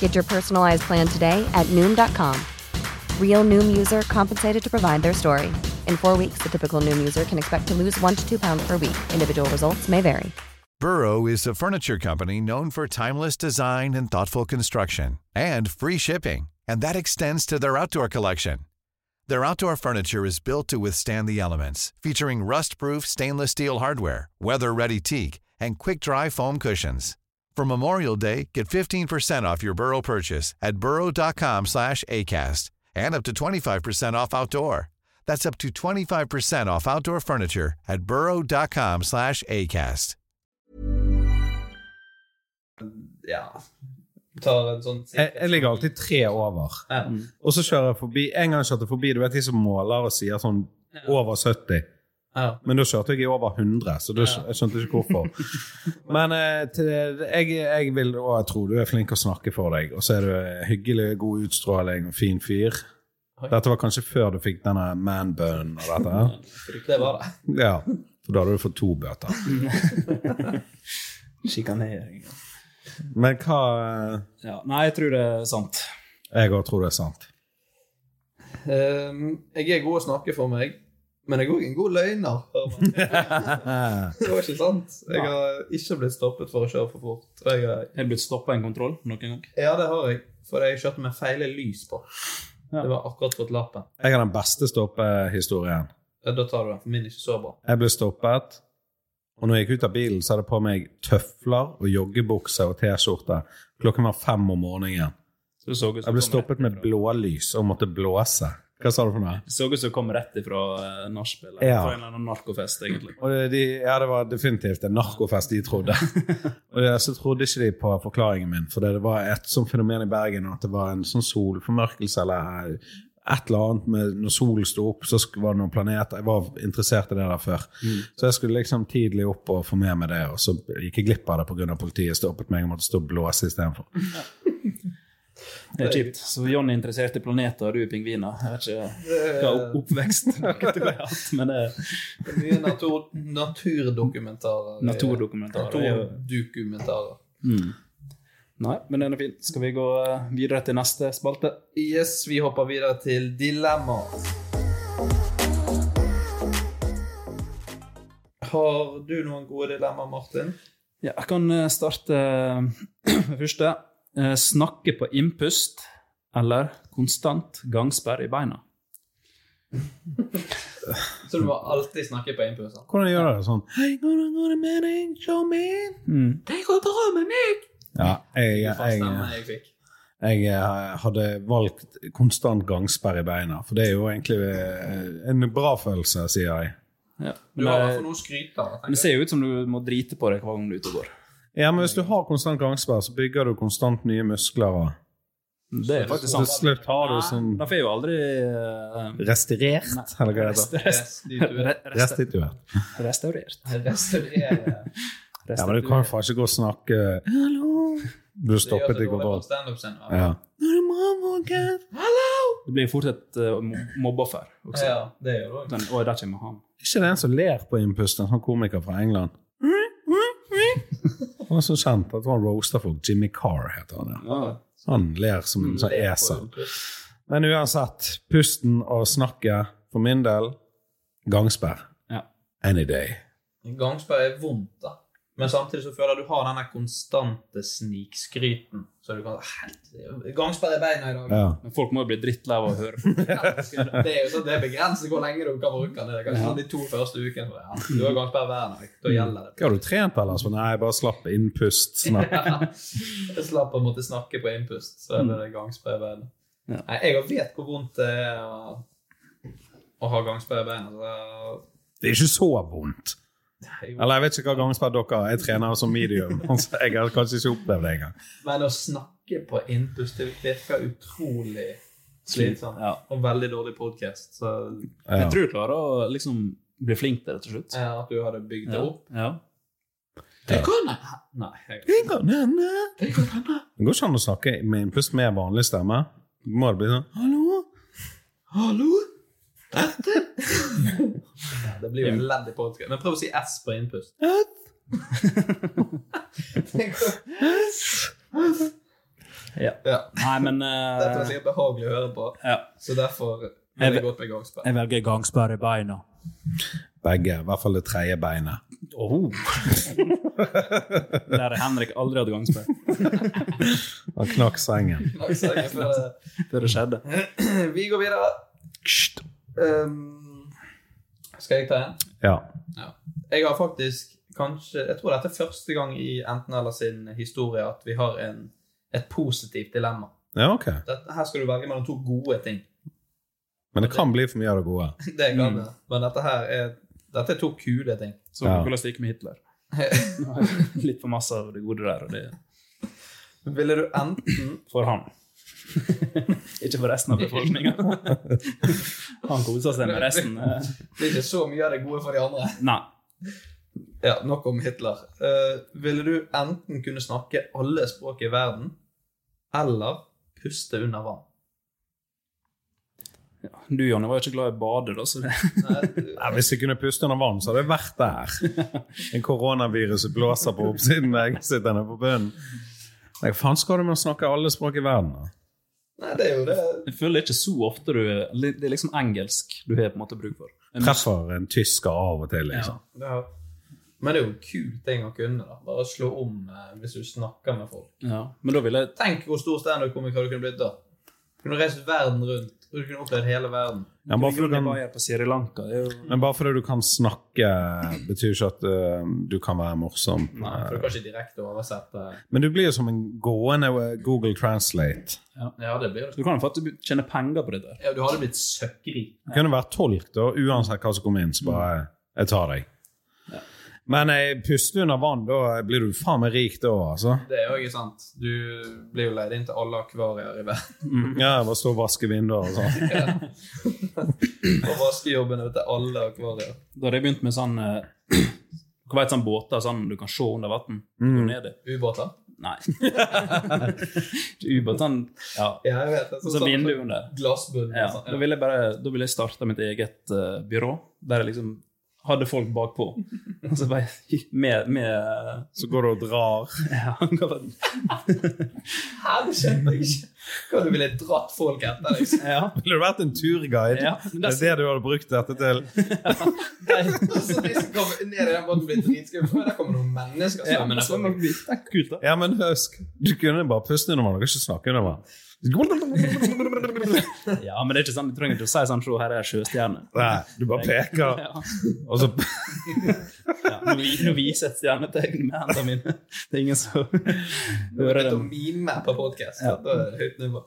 G: Get your personalized plan today at Noom.com. Real Noom user compensated to provide their story. In four weeks, the typical Noom user can expect to lose one to two pounds per week. Individual results may vary.
H: Burrow is a furniture company known for timeless design and thoughtful construction and free shipping, and that extends to their outdoor collection. Their outdoor furniture is built to withstand the elements, featuring rust-proof stainless steel hardware, weather-ready teak, and quick-dry foam cushions. For Memorial Day, get 15% off your Burrow purchase at burrow.com/acast and up to 25% off outdoor. That's up to 25% off outdoor furniture at burrow.com/acast.
D: Ja Tar en sånn
F: Jeg, jeg ligger alltid tre over.
D: Ja.
F: Og så kjører jeg forbi En gang kjørte jeg forbi du vet de som måler og sier sånn over 70.
D: Ja.
F: Men da kjørte jeg i over 100, så da skj- jeg skjønte ikke hvorfor. Men eh, til, jeg, jeg vil og jeg tror du er flink å snakke for deg, og så er du hyggelig, god utstråling og fin fyr. Dette var kanskje før du fikk denne manbunnen og dette her.
D: Det var det.
F: Ja, for da hadde du fått to bøter.
E: Sjikanering.
F: Men hva
E: Ja, nei, jeg tror det er sant.
F: eh, Jeg òg tror det er sant.
D: Ehm, jeg er god å snakke for meg, men jeg er òg en god løgner. hører man. Det var ikke sant. Jeg har ikke blitt stoppet for å kjøre for fort. Og jeg har,
E: Er du blitt stoppa i en kontroll noen gang?
D: ja, det har jeg. For jeg kjørte med feile lys på.
E: Ja.
D: Det var akkurat fått lappen.
F: Jeg har den beste stoppehistorien.
D: Ja, Da tar du den, for min er ikke så bra.
F: Jeg ble stoppet, og når jeg gikk ut av bilen, så hadde jeg på meg tøfler og joggebukse og T-skjorte. Klokken var fem om morgenen.
E: Så du så ut som
F: Jeg ble
E: kom rett
F: stoppet med
E: ifra-
F: blålys og måtte blåse. Hva sa du for noe?
E: Så ut som du kom rett ifra eh, nachspiel. eller
F: Ja.
E: Fra en eller annen narkofest, egentlig.
F: Og det- de, ja, det var definitivt en narkofest de trodde. og det, så trodde ikke de på forklaringen min, for det var et sånt fenomen i Bergen at det var en sånn solformørkelse eller et eller annet med når solen sto opp, så sk- var det noen planeter. Jeg var interessert i det der før. Så jeg skulle liksom tidlig opp og få med meg det, og så gikk jeg glipp av det pga. politiet stoppet meg og måtte stå og blåse istedenfor.
E: Det er kjipt. Så John er interessert i planeter, og du er pingviner. Jeg vet ikke
D: Det
E: hva
D: er
E: opp- oppvekst dere to har hatt, men det er
D: mye natur, naturdokumentarer.
E: Naturdokumentarer, det er jo-
D: Naturdokumentarer.
E: Nei, men den er fin. Skal vi gå eh, videre til neste spalte?
D: Yes, vi hopper videre til dilemmaer. Har du noen gode dilemmaer, Martin?
E: Ja, jeg kan eh, starte med første. Eh, Snakke på innpust eller konstant gangsperre i beina.
D: Så du må alltid snakke på innpust? sant?
F: Hvordan gjør du det sånn? Hey, gonna, gonna manage, show me.
D: Det går bra med meg!
F: Ja, jeg,
D: Det var
F: jeg,
D: stemmen jeg fikk.
F: jeg eh, hadde valgt konstant gangsperre i beina. For det er jo egentlig eh, en bra følelse, sier jeg.
E: Ja.
D: Du har i hvert fall noe å skryte av.
E: Men det ser jo ut som du må drite på deg hver gang du er ute og går.
F: Ja, men hvis du har konstant gangsperre, så bygger du konstant nye muskler. og
E: Det er
F: Så
E: faktisk sant.
F: Til slutt har du sånn
E: Da får jeg jo aldri eh,
F: Restaurert,
E: Nei.
F: eller hva det heter.
E: Rest- rest-
F: Restituert.
E: Restaurert.
D: Restaurere.
F: Ja, men du kan jo faen ikke gå og snakke Hallo! Du stoppet i går. Ja.
E: Det blir fort et eh, mob- mobbeoffer. også.
D: Ja, det gjør det også.
E: Den, og der kommer han.
F: ikke det en som ler på innpust, en sånn komiker fra England? Han er så kjent at han roaster folk. Jimmy Carr heter han. ja. Han ler som en sånn
D: Mm.
F: esel. Men uansett, pusten og snakket, for min del, gangsperr.
E: Ja.
F: Any day.
D: Gangsperre er vondt, da. Men samtidig så føler jeg du har den der konstante snikskryten. Så du kan Helvete, Gangsperre i beina i dag.
F: Ja.
E: Men folk må jo bli drittlei av å høre på.
D: Det er jo sånn, det er begrenset hvor lenge du kan bruke den. Det er kanskje sånn de to første ukene. så, Ja. Du har gangsperre hver dag. Da gjelder det.
F: Hva har du trent, ellers? Nei, bare slapp innpust, snakk.
D: Jeg slapp å måtte snakke på innpust, så er det gangsperre i beina.
E: Ja.
D: Nei, jeg vet hvor vondt det er å, å ha gangsperre i beina. Så
F: Det er ikke så vondt. Eller jeg vet ikke hva gangsperr dere har. Jeg trener som medium. så Jeg har kanskje ikke opplevd det engang.
D: Men å snakke på innpust det virker utrolig slitsomt.
E: Ja.
D: Og veldig dårlig podkast. Så
F: Ja.
E: Jeg tror du klarer å liksom bli flink til det til slutt.
D: ja, at du hadde bygd det
E: Ja.
D: opp.
E: Ja.
D: Det kan jeg! Nei. Jeg,
F: Det går ikke an å snakke med innpust med vanlig stemme. Må det bli sånn Hallo?
D: Hallo? Dette? det blir jo en elendig podkast. Men prøv å si S på innpust. Tenk om-
E: Ja.
D: ja.
E: Nei, men
D: Dette var
E: eh,
D: sikkert behagelig å høre på,
E: ja.
D: så derfor
E: Jeg
D: vil jeg
E: ve-
D: gå med gangsperre.
E: Jeg velger gangsperre i beina.
F: Begge. I hvert fall det tredje beinet.
E: Oh. Der har Henrik aldri hatt gangsperre.
F: Han knakk sengen.
D: Takk skal jeg for det.
E: Før det skjedde.
D: Vi går videre. Um, skal jeg ta en?
F: Ja.
D: Ja. Jeg har faktisk kanskje Jeg tror dette er første gang i Enten eller sin historie at vi har en, et positivt dilemma.
F: ja, ok.
D: Dette, her skal du velge mellom to gode ting.
F: Men det kan bli for mye av det gode.
D: Det kan det. Mm. Men dette her er, dette er to kule ting.
E: Så
F: Ja.
E: hvordan det gikk med Hitler. Litt for masse av det gode der, og det
D: Ville du enten
E: for han. ikke for resten av befolkninga. han koser seg med resten. eh.
D: Det er ikke så mye av det gode for de andre.
E: Nei.
D: Ja, Nok om Hitler. Eh, ville du enten kunne snakke alle språk i verden, eller puste under vann?
E: Du, Jonny, var jo ikke glad i å bade, da, så det
D: Nei,
F: Nei, hvis jeg kunne puste under vann, så hadde jeg vært der. En koronavirus blåser på oppsiden, og jeg sitter nede på bunnen. Nei, hva faen skal du med å snakke alle språk i verden? da?
D: nei, det er jo det.
E: Jeg føler det er ikke så ofte du Det er liksom engelsk du har på en måte bruk for.
F: Treffer en tysker av og til, liksom.
D: det er, men det er jo en kul ting å kunne. da. Bare slå om eh, hvis du snakker med folk.
E: Ja, Men da ville jeg
D: Tenk hvor stor standup-komiker du kunne blitt da. Du kunne reist verden rundt, og du kunne opplevd hele verden.
F: Ja, bare for du kan...
E: Bayer på Sri Lanka det er jo
F: Men bare fordi du kan snakke, betyr ikke at eh, du kan være morsom.
D: Nei, for du kan ikke direkte oversette
F: Men du blir jo som en gående eh, Google Translate.
D: Ja, det blir det.
E: Du kan jo faktisk tjene penger på det der.
D: Ja, du hadde blitt søkkrik.
F: Du kunne vært tolk, da, uansett hva som kom inn. Så bare
E: Mm.
F: Jeg tar deg. Men eh, puster du under vann, da eh, blir du faen meg rik da, altså.
D: Det er jo ikke sant. Du blir jo leid inn til alle akvarier i verden.
F: Ja, jeg bare stå og vaske vinduer og sånn.
D: Og vaskejobbene til alle akvarier.
E: Da hadde jeg begynt med sånn eh, Hva vet sånn båter sånn du kan se under vann? Gå ned i?
D: Ubåter.
E: Nei. Ubåt sånn Ja.
D: Ja, jeg vet det.
E: Og så vindu under.
D: Glassbunn.
E: ja.
D: og sånn.
E: Da ville jeg bare Da ville jeg starta mitt eget eh, byrå, der jeg liksom hadde folk bakpå. Og så bare Med, med
F: Så går du og drar.
E: ja,
D: Hæ, du skjønner ikke hva du ville dratt folk etter liksom. deg.
E: ja.
F: Ville du vært en turguide?
E: Ja, men
F: det
E: det-
F: er det du hadde brukt dette til.
D: Så de som kommer ned i den båten, blir dritskummelt. For Der kommer noen mennesker
E: Ja, men
D: svømmende
E: det var
D: forbi.
E: nok kult, da.
F: Ja, men husk, du kunne bare puste under vann, du kan ikke snakke under vann.
E: Ja, men det er ikke sånn, du trenger ikke å si sånn Se, her er sjøstjerne.
F: Nei, du bare peker,
E: Ja.
F: og så
E: Ja, nå, vi, nå viser jeg et stjernetegn med hendene mine. Det er ingen som hører
D: Begynte å
E: dem.
D: mime på podkast.
E: Ja.
D: Da er det høyt nivå.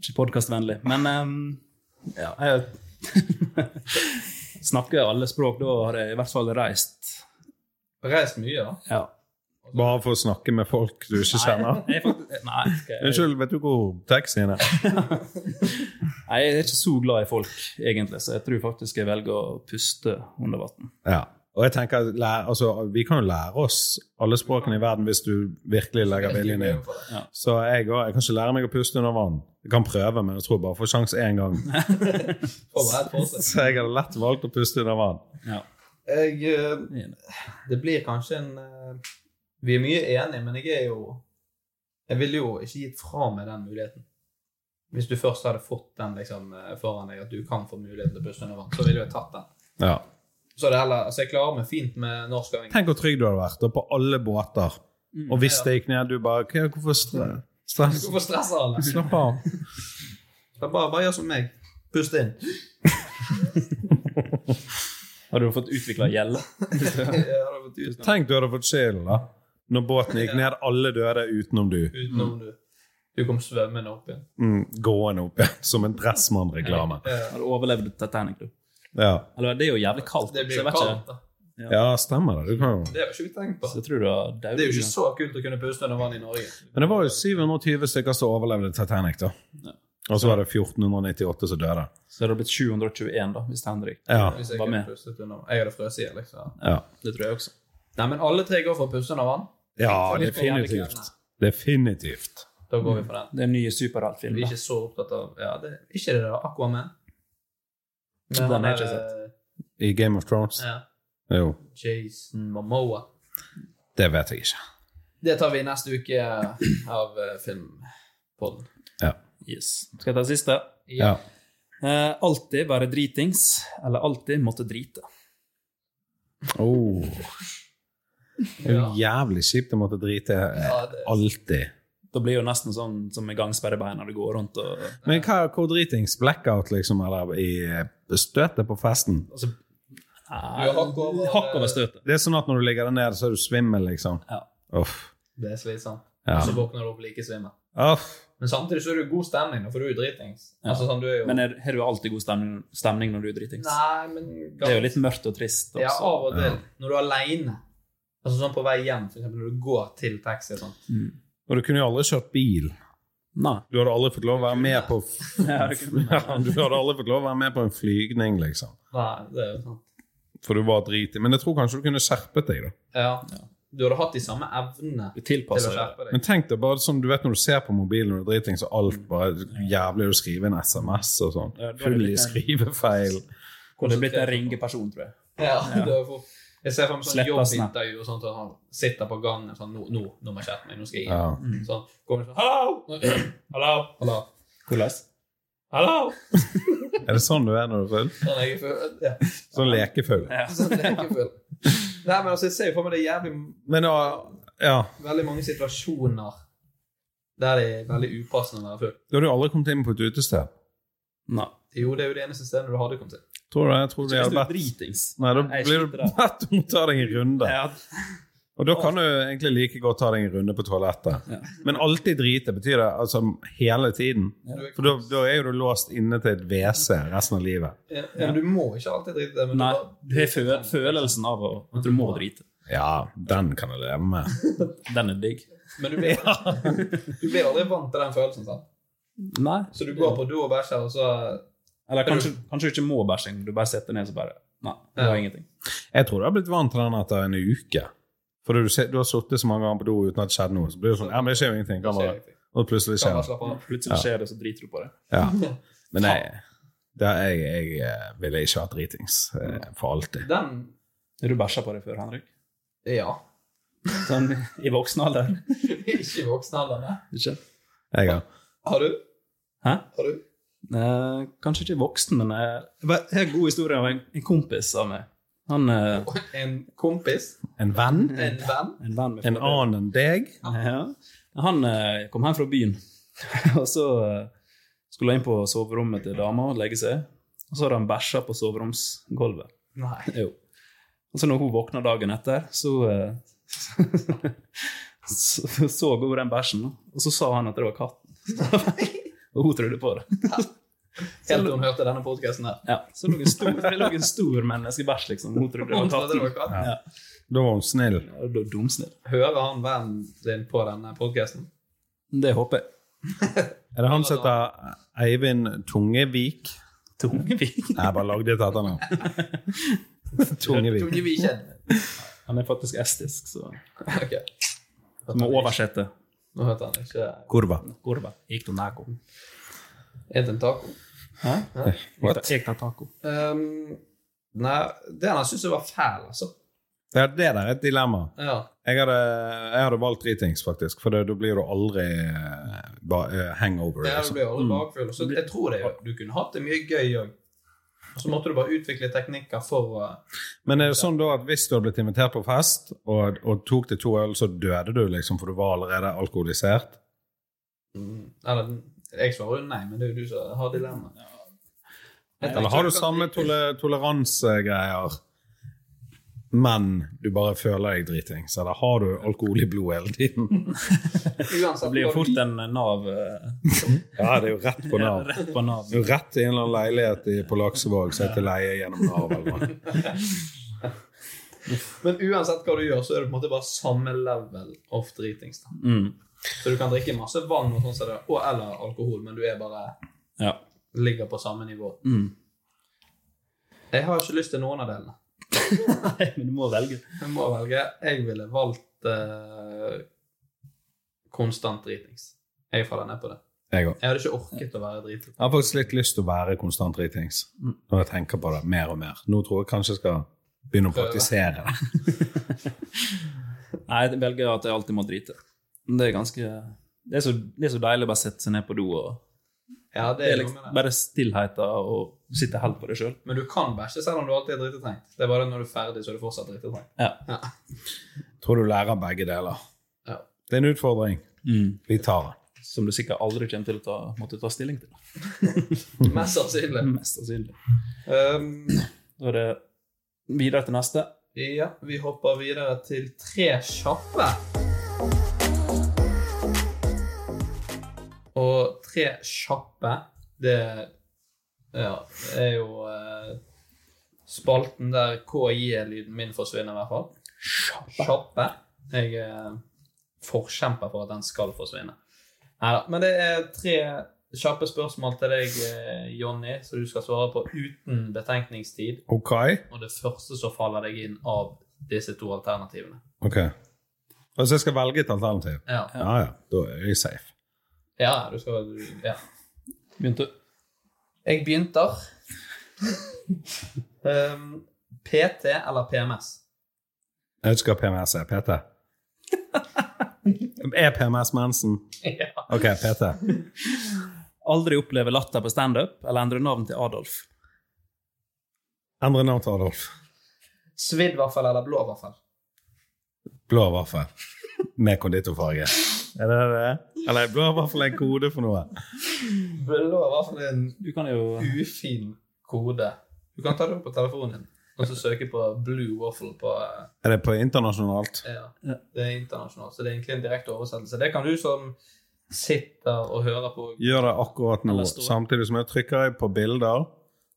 E: Ikke podkastvennlig. Men ehm, ja, jeg snakker alle språk. Da har jeg i hvert fall reist.
D: Reist mye, da?
E: Ja.
F: Bare for å snakke med folk du ikke kjenner?
E: Nei, jeg, faktisk- nei, skal jeg-
F: Unnskyld, vet du hvor taxien er?
E: Nei, jeg er ikke så glad i folk, egentlig, så jeg tror faktisk jeg velger å puste under vann.
F: Ja. Og jeg tenker, at lære, altså, Vi kan jo lære oss alle språkene i verden hvis du virkelig legger viljen inn.
E: Ja.
F: Så jeg, også- jeg kan ikke lære meg å puste under vann. Jeg kan prøve, men jeg tror jeg bare får sjanse én gang. Så jeg hadde lett valgt å puste under vann.
D: Jeg eh, Det blir kanskje en eh, Vi er mye enige, men jeg er jo Jeg ville jo ikke gitt fra meg den muligheten. Hvis du først hadde fått den liksom, eh, foran deg, at du kan få muligheten til å puste under vann, så ville jo jeg tatt den.
F: Ja.
D: Så er det heller, altså Jeg klarer meg fint med norsk og engelsk.
F: Tenk hvor trygg du hadde vært, og på alle båter.
D: Mm,
F: Og hvis
D: ja.
F: det gikk ned, du bare "Hva- Hvorfor stre- stress?
D: Hvorfor stresser alle?
F: Slapp av.
D: Da Bare, bare gjør som meg. Pust inn.
E: Hadde du fått utvikla gjelde?
F: Tenk du hadde fått skjelen, da. Når båten gikk ned, alle døde utenom du.
D: Utenom du. Du kom svømmende opp igjen.
F: Mm, gående opp igjen, som en Dressmann-reklame.
E: Hadde overlevd Titanic, du.
F: Ja.
E: Eller det er jo jævlig kaldt.
D: Det blir
E: så jeg vet
D: kaldt,
E: ikke.
F: ja, stemmer det. Du kan jo
D: Det har ikke vi tenkt på.
E: Så jeg tror du har
D: Det
E: daud.
D: er jo ikke så kult å kunne puste under vann i Norge.
F: Men det var jo 720 stykker som overlevde Titanic, da. Og så var det 1498 som døde.
E: Så det hadde blitt 721, da, hvis Henrik
F: Ja.
D: Hvis jeg,
E: var
D: kunne
E: med.
D: pustet under. jeg hadde frøst i hjel, liksom.
F: Ja,
D: Det tror jeg også. Nei, men alle tre går for å puste under vann.
F: ja
D: For de skal gjerne
F: definitivt.
D: klemme.
F: Definitivt.
D: Da går vi for den.
E: Det er en ny
D: Vi er
E: superheltfilm.
D: ikke så opptatt av ja, det, Ikke det der Aquaman. Men
E: Den
D: han
E: har jeg ikke
D: er- eh,
F: I Game of Thrones?
D: Ja,
F: Jo,
D: Jason
E: Mm.
D: Momoa.
F: det vet jeg ikke.
D: Det tar vi neste uke av eh, filmpodden.
F: Ja.
E: Yes. Skal jeg ta siste?
F: ja.
E: Eh, alltid være dritings, eller alltid måtte drite.
F: Oh. Det er jo jævlig kjipt å måtte drite eh,
D: Ja, det-
F: alltid.
E: Da blir det jo nesten sånn som med gangsperrebein når du går rundt og
F: Men hva, hvor dritings? Blackout, liksom? Eller i eh, støtet på festen?
E: altså,
D: Du har hakk over-
E: Hakk over støtet.
F: Det er sånn at når du ligger der nede, så er du svimmel, liksom?
E: Ja.
F: Uff.
D: Det er slitsomt.
F: Ja.
D: Og Så våkner du opp like svimmel.
F: Uff.
D: Men samtidig så er det jo god stemning, da, for du er jo dritings.
E: Ja.
D: Altså, sånn, du er jo...
E: Men er, har du alltid god stemning, stemning når du er dritings?
D: Nei, men
E: Det er jo litt mørkt og trist. Også.
D: Ja, av og til. Når du er aleine. Altså sånn på vei hjem, for eksempel når du går til taxi og sånn.
F: Og du kunne jo aldri kjørt bil.
E: Nei.
F: Du hadde aldri fått lov å være med på f-
E: Ja, det kunne
F: ja, Du hadde aldri fått lov å være med på en flygning, liksom.
D: Nei, det er jo sant.
F: For du var dritig. Men jeg tror kanskje du kunne skjerpet deg, da.
D: Ja. Du hadde hatt de samme evnene
E: Du
D: til å
E: tilpasser deg.
D: skjerpe
F: Men
D: deg.
F: tenk deg bare som du vet når du ser på mobilen og du er driting, så alt bare jævlig å skrive en SMS og sånn.
E: Ja, da er det
F: Full i
E: litt mer-
F: skrivefeil.
E: Kunne blitt en ringeperson, tror jeg.
D: Ja, det er for... Jeg ser for meg sånn
E: Slett oss, nei.
D: jobbintervju og sånt, og han sitter på gangen sånn Nå, nå, nå må jeg skjerpe meg, nå skal jeg
F: Ja.
D: inn. Sånn, går han sånn Hallo! Hallo! Hallo!
E: Hvordan?
D: Hallo!
F: Er det sånn du er når du er full?
D: Sånn, jeg er full. Ja.
F: Sånn lekefull.
D: Sånn, jeg er full. Nei, men altså, jeg ser jo for meg det er jævlig
F: Men da Ja.
D: veldig mange situasjoner der det er veldig upassende å være full.
F: Du hadde jo aldri kommet inn på et utested.
E: Nei.
D: Jo, det er jo det eneste stedet du hadde kommet til.
F: Tror du det? Jeg tror de
E: Hvis
F: hadde
E: du er
F: bedt
E: dritings.
F: Nei, da
E: Nei, jeg
F: blir du
E: sliter
F: bedt om å ta deg en runde.
E: Ja.
F: Og da kan du egentlig like godt ta deg en runde på toalettet. Men alltid drite betyr det altså hele tiden. For da, da er jo du låst inne til et WC resten av livet.
D: Ja, men du må ikke alltid drite det. Men
E: Nei,
D: du bare-
E: du har fø følelsen av å- at du må drite.
F: Ja, den kan jeg leve med.
E: Den er digg.
D: Men du blir, du blir aldri vant til den følelsen. sant?
E: Nei.
D: Så du går på do og bæsjer, og så
E: Eller kanskje, kanskje du ikke må bæsje engang. Du bare setter ned og så bare Nei, det var ingenting.
F: Jeg tror du har blitt vant til den etter en uke. For du, ser- du har sittet så mange ganger på do uten at det skjedde noe. Så blir det sånn, ja, men det skjer jo ingenting. Kan
D: skjer
F: bare,
D: ingenting.
F: og plutselig
D: kan
F: skjer
D: man
F: det.
D: slappe av.
E: Plutselig skjer det, så driter du på det.
F: Ja. Men jeg, det, jeg, jeg eh, ville ikke vært dritings eh, for alltid.
D: Den
E: Har du bæsja på deg før, Henrik?
D: Ja.
E: Sånn i voksen alder?
D: ikke voksen alder, nei.
E: Ikke?
F: Jeg, har-
D: Har du?
E: Hæ?
D: Har du?
E: Eh, kanskje ikke voksen, men eh, jeg bare- jeg har en god historie av en, en kompis av meg. Han eh,
D: En kompis?
F: en venn?
D: En venn?
E: En venn med
F: En annen enn deg?
E: Ja. Han eh, kom hjem fra byen, og så eh, skulle han inn på soverommet til dama og legge seg. Og så hadde han bæsja på soveromsgulvet.
D: Nei.
E: Jo. Og så når hun våkna dagen etter, så eh, så så hun den bæsjen, og så sa han at det var katten. Og hun trodde på det.
D: Helt til hun hørte denne podkasten her.
E: Ja, så lå en stor, det lå en stor menneskebæsj, liksom. Hun trodde det
D: Hun
E: var
D: trodde det var
E: katten.
D: katten.
E: Ja.
F: Da var hun snill.
E: Da er dumsnill.
D: Hører han vennen din på denne podkasten?
E: Det håper jeg.
F: Er det han som heter Eivind Tungevik?
E: Tungevik?
F: Jeg bare lagde et etternavn. Tungevik.
E: Han er faktisk estisk, så
D: Ok.
E: så må oversette.
D: Nå hørte han ikke
F: Kurva.
E: Kurva. Gikk du nago?
D: Er det en taco?
E: Hæ?
F: What?
E: Jeg tar taco.
D: Um, nei, det han syntes jeg var fæl, altså.
F: Ja, det der er et dilemma.
D: Ja.
F: Jeg hadde, jeg hadde valgt dritings, faktisk. For det, da blir du aldri eh, ba, eh, hangover.
D: Det her
F: Liksom.
D: ble jo aldri bakfull. Så jeg tror det, du kunne hatt det mye gøy òg. Og så måtte du bare utvikle teknikker for uh,
F: Men er det sånn da at hvis du hadde blitt invitert på fest og, og tok deg to øl, så døde du, liksom, for du var allerede alkoholisert?
D: Eller jeg svarer jo nei, men det er jo du som har dilemmaet. Jeg
F: Eller
D: tenker
F: har du
D: at-
F: samme tole toleransegreier, men du bare føler deg dritings? Eller har du alkohol i blodet hele tiden?
D: Uansett,
E: Det blir jo
D: går
E: fort
D: du-
E: en Nav eh,
F: Ja, det er jo rett på Nav.
E: rett på Nav.
F: Det er jo rett til en eller annen leilighet i, på Laksevåg som heter leie gjennom Nav. eller noe.
D: Men uansett hva du gjør, så er det på en måte bare samme level of dritings. da.
E: Mm.
D: Så du kan drikke masse vann og sånn som det, og eller alkohol, men du er bare
E: Ja.
D: ligger på samme nivå.
E: Mm.
D: Jeg har ikke lyst til noen av delene.
E: Nei, men du må velge.
D: Jeg må velge. Jeg ville valgt eh, konstant dritings. Jeg faller ned på det.
F: Jeg òg.
D: Jeg hadde ikke orket å være dritings.
F: Jeg har faktisk litt lyst til å være konstant dritings når jeg tenker på det mer og mer. Nå tror jeg kanskje jeg skal begynne å
D: Prøve.
F: praktisere det.
E: Nei, jeg velger at jeg alltid må drite. Det er ganske Det er så, det er så deilig å bare sette seg ned på do og
D: Ja, det
E: det er
D: er noe
E: liksom,
D: med det.
E: Bare stillheten og sitte helt på deg sjøl.
D: Men du kan bæsje selv om du alltid er dritetrengt. Det er bare når du er ferdig, så er du fortsatt dritetrengt.
E: Ja.
F: Tror du lærer begge deler.
D: Ja.
F: Det er en utfordring.
E: Mm.
F: Vi tar den.
E: Som du sikkert aldri kommer til å ta, måtte ta stilling til.
D: Mest sannsynlig.
E: Mest sannsynlig.
D: Um,
E: Da er det videre til neste.
D: ja, vi hopper videre til tre kjappe. Og tre kjappe, det ja, er jo eh, spalten der KI-lyden min forsvinner, i hvert fall. Kjappe. Jeg er forkjemper for at den skal forsvinne. Neida, Men det er tre kjappe spørsmål til deg, eh, Jonny, som du skal svare på uten betenkningstid.
F: Ok?
D: Og det første som faller deg inn av disse to alternativene.
F: Ok. Altså jeg skal velge et alternativ?
D: Ja, ja.
F: Ja ja, da er jeg safe.
D: du skal du- ja.
E: Begynte
D: Jeg begynner. um, PT eller PMS?
F: Jeg skal ha PMS, jeg. PT. Er PMS mensen?
D: ja.
F: Ok, PT.
E: Aldri oppleve latter på standup eller endre navn til Adolf.
F: Endre navn til Adolf.
D: Svidd vaffel eller blå vaffel?
F: Blå vaffel med konditorfarge. Er det det? Eller blå vaffel er en kode for noe.
D: Blå vaffel er en
E: Du kan jo
D: ufin kode. Du kan ta det opp på telefonen din og så søke på Blue Waffle på eh,
F: Er det på internasjonalt?
D: ja, Det er internasjonalt, så det er egentlig en direkte oversettelse. Det kan du som sitter og hører på
F: Gjør det akkurat nå,
E: Eller står-
F: samtidig som jeg trykker på bilder.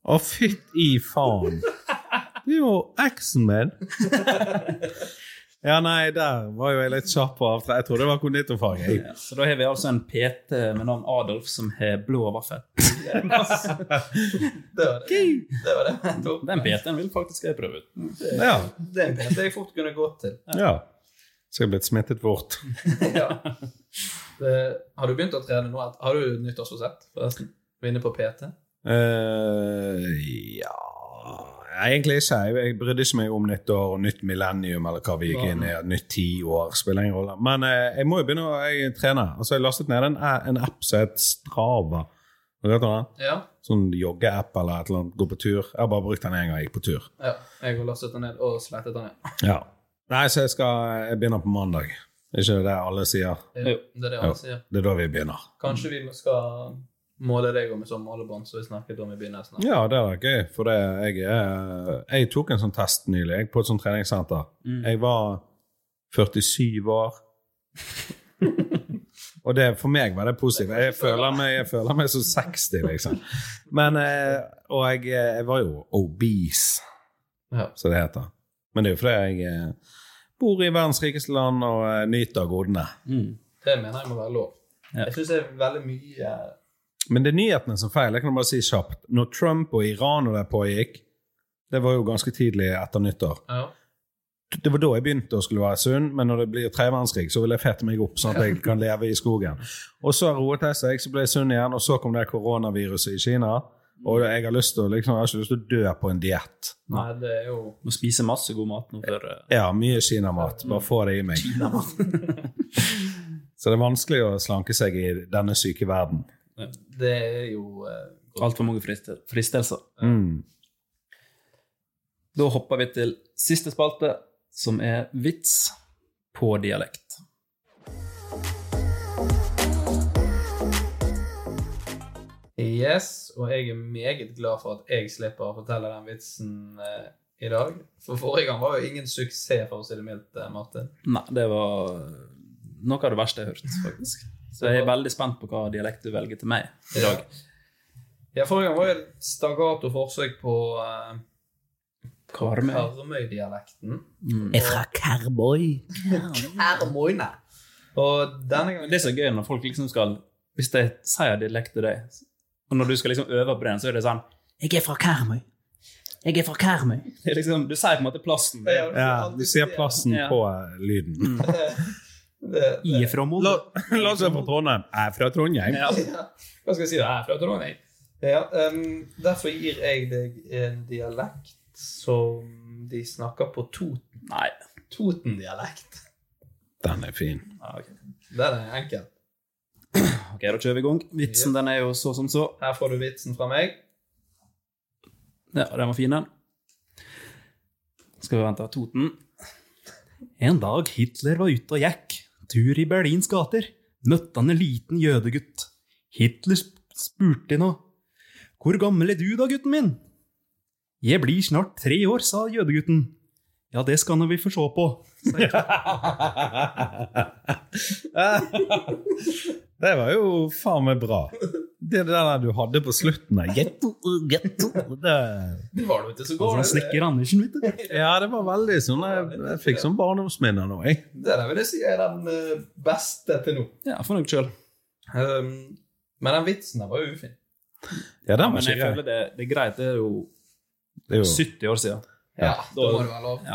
F: Å, fytt i faen! Det er jo eksen min! Ja, nei, der var jo jeg litt kjapp på avtrekk. Jeg trodde det var konditorfarge. Jeg-
E: Så da har vi altså en PT med navn Adolf som har blå vaffel.
D: Det var det. Det var det. jeg tok.
E: Den PT-en vil faktisk jeg prøve ut.
F: Ja.
D: Det er en PT jeg fort kunne gått til.
F: ja. Så jeg er blitt smittet bort.
D: Ja. Det, eh, har du begynt å trene nå? Har du nyttårsforsett, forresten? Vi er inne på PT.
F: eh ja Egentlig ikke. Jeg, jeg brydde ikke meg om nytt år og nytt millennium eller hva vi gikk inn i. Nytt tiår spiller ingen rolle. Men eh, jeg må jo begynne å jeg trene. Altså, jeg lastet ned en, a- en app som heter Strava. Har du hørt om den?
D: Ja.
F: Sånn joggeapp eller et eller annet. Gå på tur. Jeg har bare brukt den én gang jeg gikk på tur.
D: ja. Jeg har lastet den ned og slettet den ned.
F: Ja. Nei, så jeg skal Jeg begynner på mandag. Er ikke det det alle sier?
D: Det, det er det
F: Jo.
D: han sier.
F: Det er da vi begynner.
D: Kanskje vi skal måle deg om et sånt målebånd som vi snakket om i begynnelsen. av.
F: Ja, det er gøy, for det, jeg, er- jeg tok en sånn test nylig jeg, på et sånt treningssenter. Jeg var 47 år. Og det, for meg var det positivt. Jeg føler meg, jeg føler meg som 60, liksom. Men, eh, og jeg, eh, jeg var jo obese, som det heter. Men det er jo fordi jeg eh, bor i verdens rikeste land og eh, nyter godene.
D: Det mener jeg må være lov. Jeg syns det er veldig mye
F: Men det er nyhetene som feiler. Jeg kan bare si kjapt. Når Trump og Iran og det pågikk, det var jo ganske tidlig etter nyttår.
D: Ja.
F: Det var da jeg begynte å skulle være sunn, men når det blir tredje verdenskrig, så vil jeg fete meg opp sånn at jeg kan leve i skogen. Og så roet jeg seg, så ble jeg sunn igjen, og så kom det koronaviruset i Kina. Og jeg har, lyst til, å liksom, jeg har ikke lyst til å dø på en diett.
D: Nei, det er jo
E: Må spise masse god mat nå før eh,
F: Ja, mye kinamat. Bare få det i meg. så det er vanskelig å slanke seg i denne syke verden.
D: Det er jo eh,
E: altfor mange friste- fristelser.
F: Mm.
E: Da hopper vi til siste spalte, som er vits på dialekt.
D: Yes, og jeg er meget glad for at jeg slipper å fortelle den vitsen eh, i dag. For forrige gang var jo ingen suksess, for å si det mildt, eh, Martin.
E: Nei, det var noe av det verste jeg har hørt, faktisk. Så jeg er veldig spent på hva dialekt du velger til meg i dag.
D: Ja, forrige gang var jo et stagato forsøk på eh,
E: Karmøy.
D: Karmøy-dialekten.
E: Mm. Jeg er fra
D: Karmøy. Karmøyne. Og denne gangen
E: Det er så gøy når folk liksom skal Hvis de sier dialekt til deg, og når du skal liksom øve på den, så er det sånn Jeg er fra Karmøy. Jeg er fra Karmøy. Det er liksom, du sier på en måte plassen.
F: Ja, du ser plassen på eh, lyden.
E: I er fra Molde.
F: La oss være fra Trondheim. Jeg er fra Trondheim.
D: Ja. Hva skal jeg si? Det er fra Trondheim. Ja, em, derfor gir jeg deg en dialekt som de snakker på Toten.
E: Nei.
D: Toten-dialekt.
F: Den er fin.
D: Den er enkel.
E: Ah, Ok, da kjører vi i gang. Vitsen den er jo så som så.
D: Her får du vitsen fra meg.
E: Ja, den var fin, den. Skal vi vente Toten. En dag Hitler var ute og gikk, tur i Berlins gater, møtte han en liten jødegutt. Hitler sp- spurte nå. Hvor gammel er du da, gutten min? Jeg blir snart tre år, sa jødegutten. Ja, det skal nå vi få se på.
F: Det var jo faen meg bra. Det er det der du hadde på slutten der. Getto, getto. Det,
D: Det var det, vet du, så går
E: Altså,
D: det.
E: snekker Andersen, vet du.
F: ja, det var veldig sånn Jeg, jeg fikk sånn barndomsminner nå, jeg.
D: Det der vil jeg si er den eh, beste til nå.
E: Ja, for noe sjøl.
D: Em, men den vitsen der var jo ufin.
F: Ja, den
E: Men
F: var
E: jeg
F: ikke grei.
E: føler det, det er greit. Det er jo
F: Det er jo,
E: 70 år siden.
D: Ja, da må det være lov.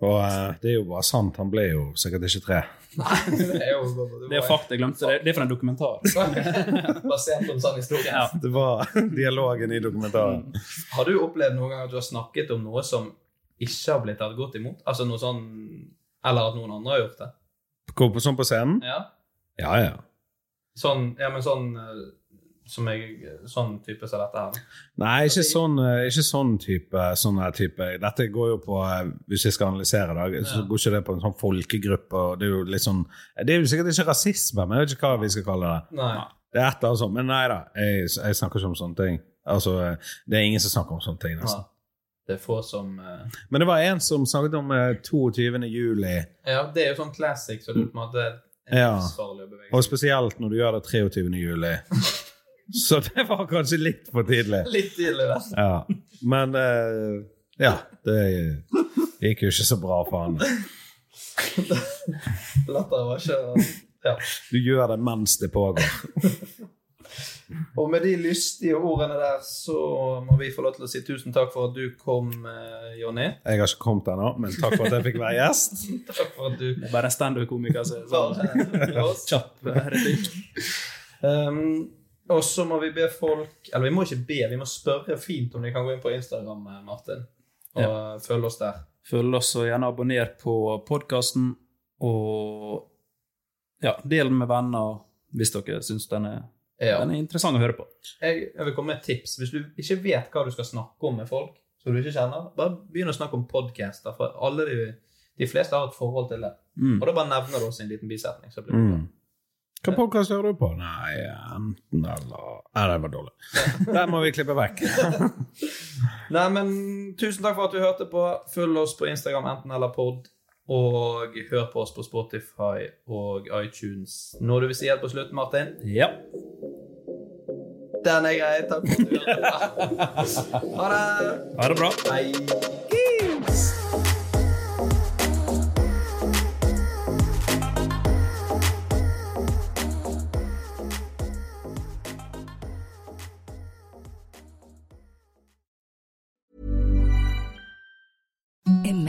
E: Ja.
F: og eh, det er jo bare sant. Han ble jo sikkert ikke tre.
D: Nei, det er jo
E: Det er fakta jeg glemte. Det er- Det er fra en dokumentar.
D: Basert på en sånn historie.
E: Ja.
F: Det var dialogen i dokumentaren.
D: Har du opplevd noen gang at du har snakket om noe som ikke har blitt tatt godt imot? Altså noe sånn Eller at noen andre har gjort det?
F: Hvor på, sånn på scenen?
D: Ja,
F: Ja, ja.
D: sånn, ja men sånn eh, som jeg, Sånn type som dette her.
F: Nei, ikke sånn, eh, ikke sånn type, sånn her type. Dette går jo på eh, Hvis jeg skal analysere det, så går ikke det på en sånn folkegruppe. og Det er jo litt sånn Det er jo sikkert ikke rasisme, men jeg vet ikke hva vi skal kalle det.
D: Nei.
F: Det er et eller annet sånt. Men nei da, jeg, jeg snakker ikke om sånne ting. Altså, eh, Det er ingen som snakker om sånne ting.
D: Ja.
F: nesten.
D: altså, Det er få som eh,
F: Men det var en som snakket om eh, 22. juli,
D: Ja, det er jo sånn classic, så du på en måte er
F: Ja.
D: livsfarlig å bevege
F: og spesielt når du gjør det 23. juli. Så det var kanskje litt for tidlig.
D: Litt tidlig, det.
F: Ja. Men eh, ja, det gikk jo ikke så bra for han.
D: Latter var ikke Ja.
F: Du gjør det mens det pågår.
D: Og med de lystige ordene der, så må vi få lov til å si tusen takk for at du kom, eh, Jonny.
F: Jeg har ikke kommet ennå, men takk for at jeg fikk være gjest.
D: Takk for at du
E: Det er bare en standup-komiker som er
D: var
E: sånn
D: her med oss.
E: kjapp replikk.
D: Um, og så må vi be folk Eller vi må ikke be, vi må spørre fint om de kan gå inn på Instagram, eh, Martin. Og eh, følge oss der.
E: Følg oss og gjerne abonner på podkasten. Og ja, del den med venner hvis dere syns den, er-
D: Ja.
E: den er interessant å høre på.
D: Jeg, jeg vil komme med et tips. Hvis du ikke vet hva du skal snakke om med folk, som du ikke kjenner, bare begynn å snakke om podcaster, for alle de, de fleste har et forhold til det.
E: Mm.
D: Og da bare nevner du oss i en liten bisetning. Så blir det bra.
F: Mm. Hva podkast hører du på? Nei, enten eller Nei, det var dårlig. Den må vi klippe vekk.
D: Nei, men tusen takk for at du hørte på. Følg oss på Instagram enten eller pod. Og hør på oss på Spotify og iTunes. Noe du vil si helt på slutten, Martin?
E: Ja.
D: Den er grei. Takk for at du hørte på. Ha det.
E: Ha det bra.
D: Hei.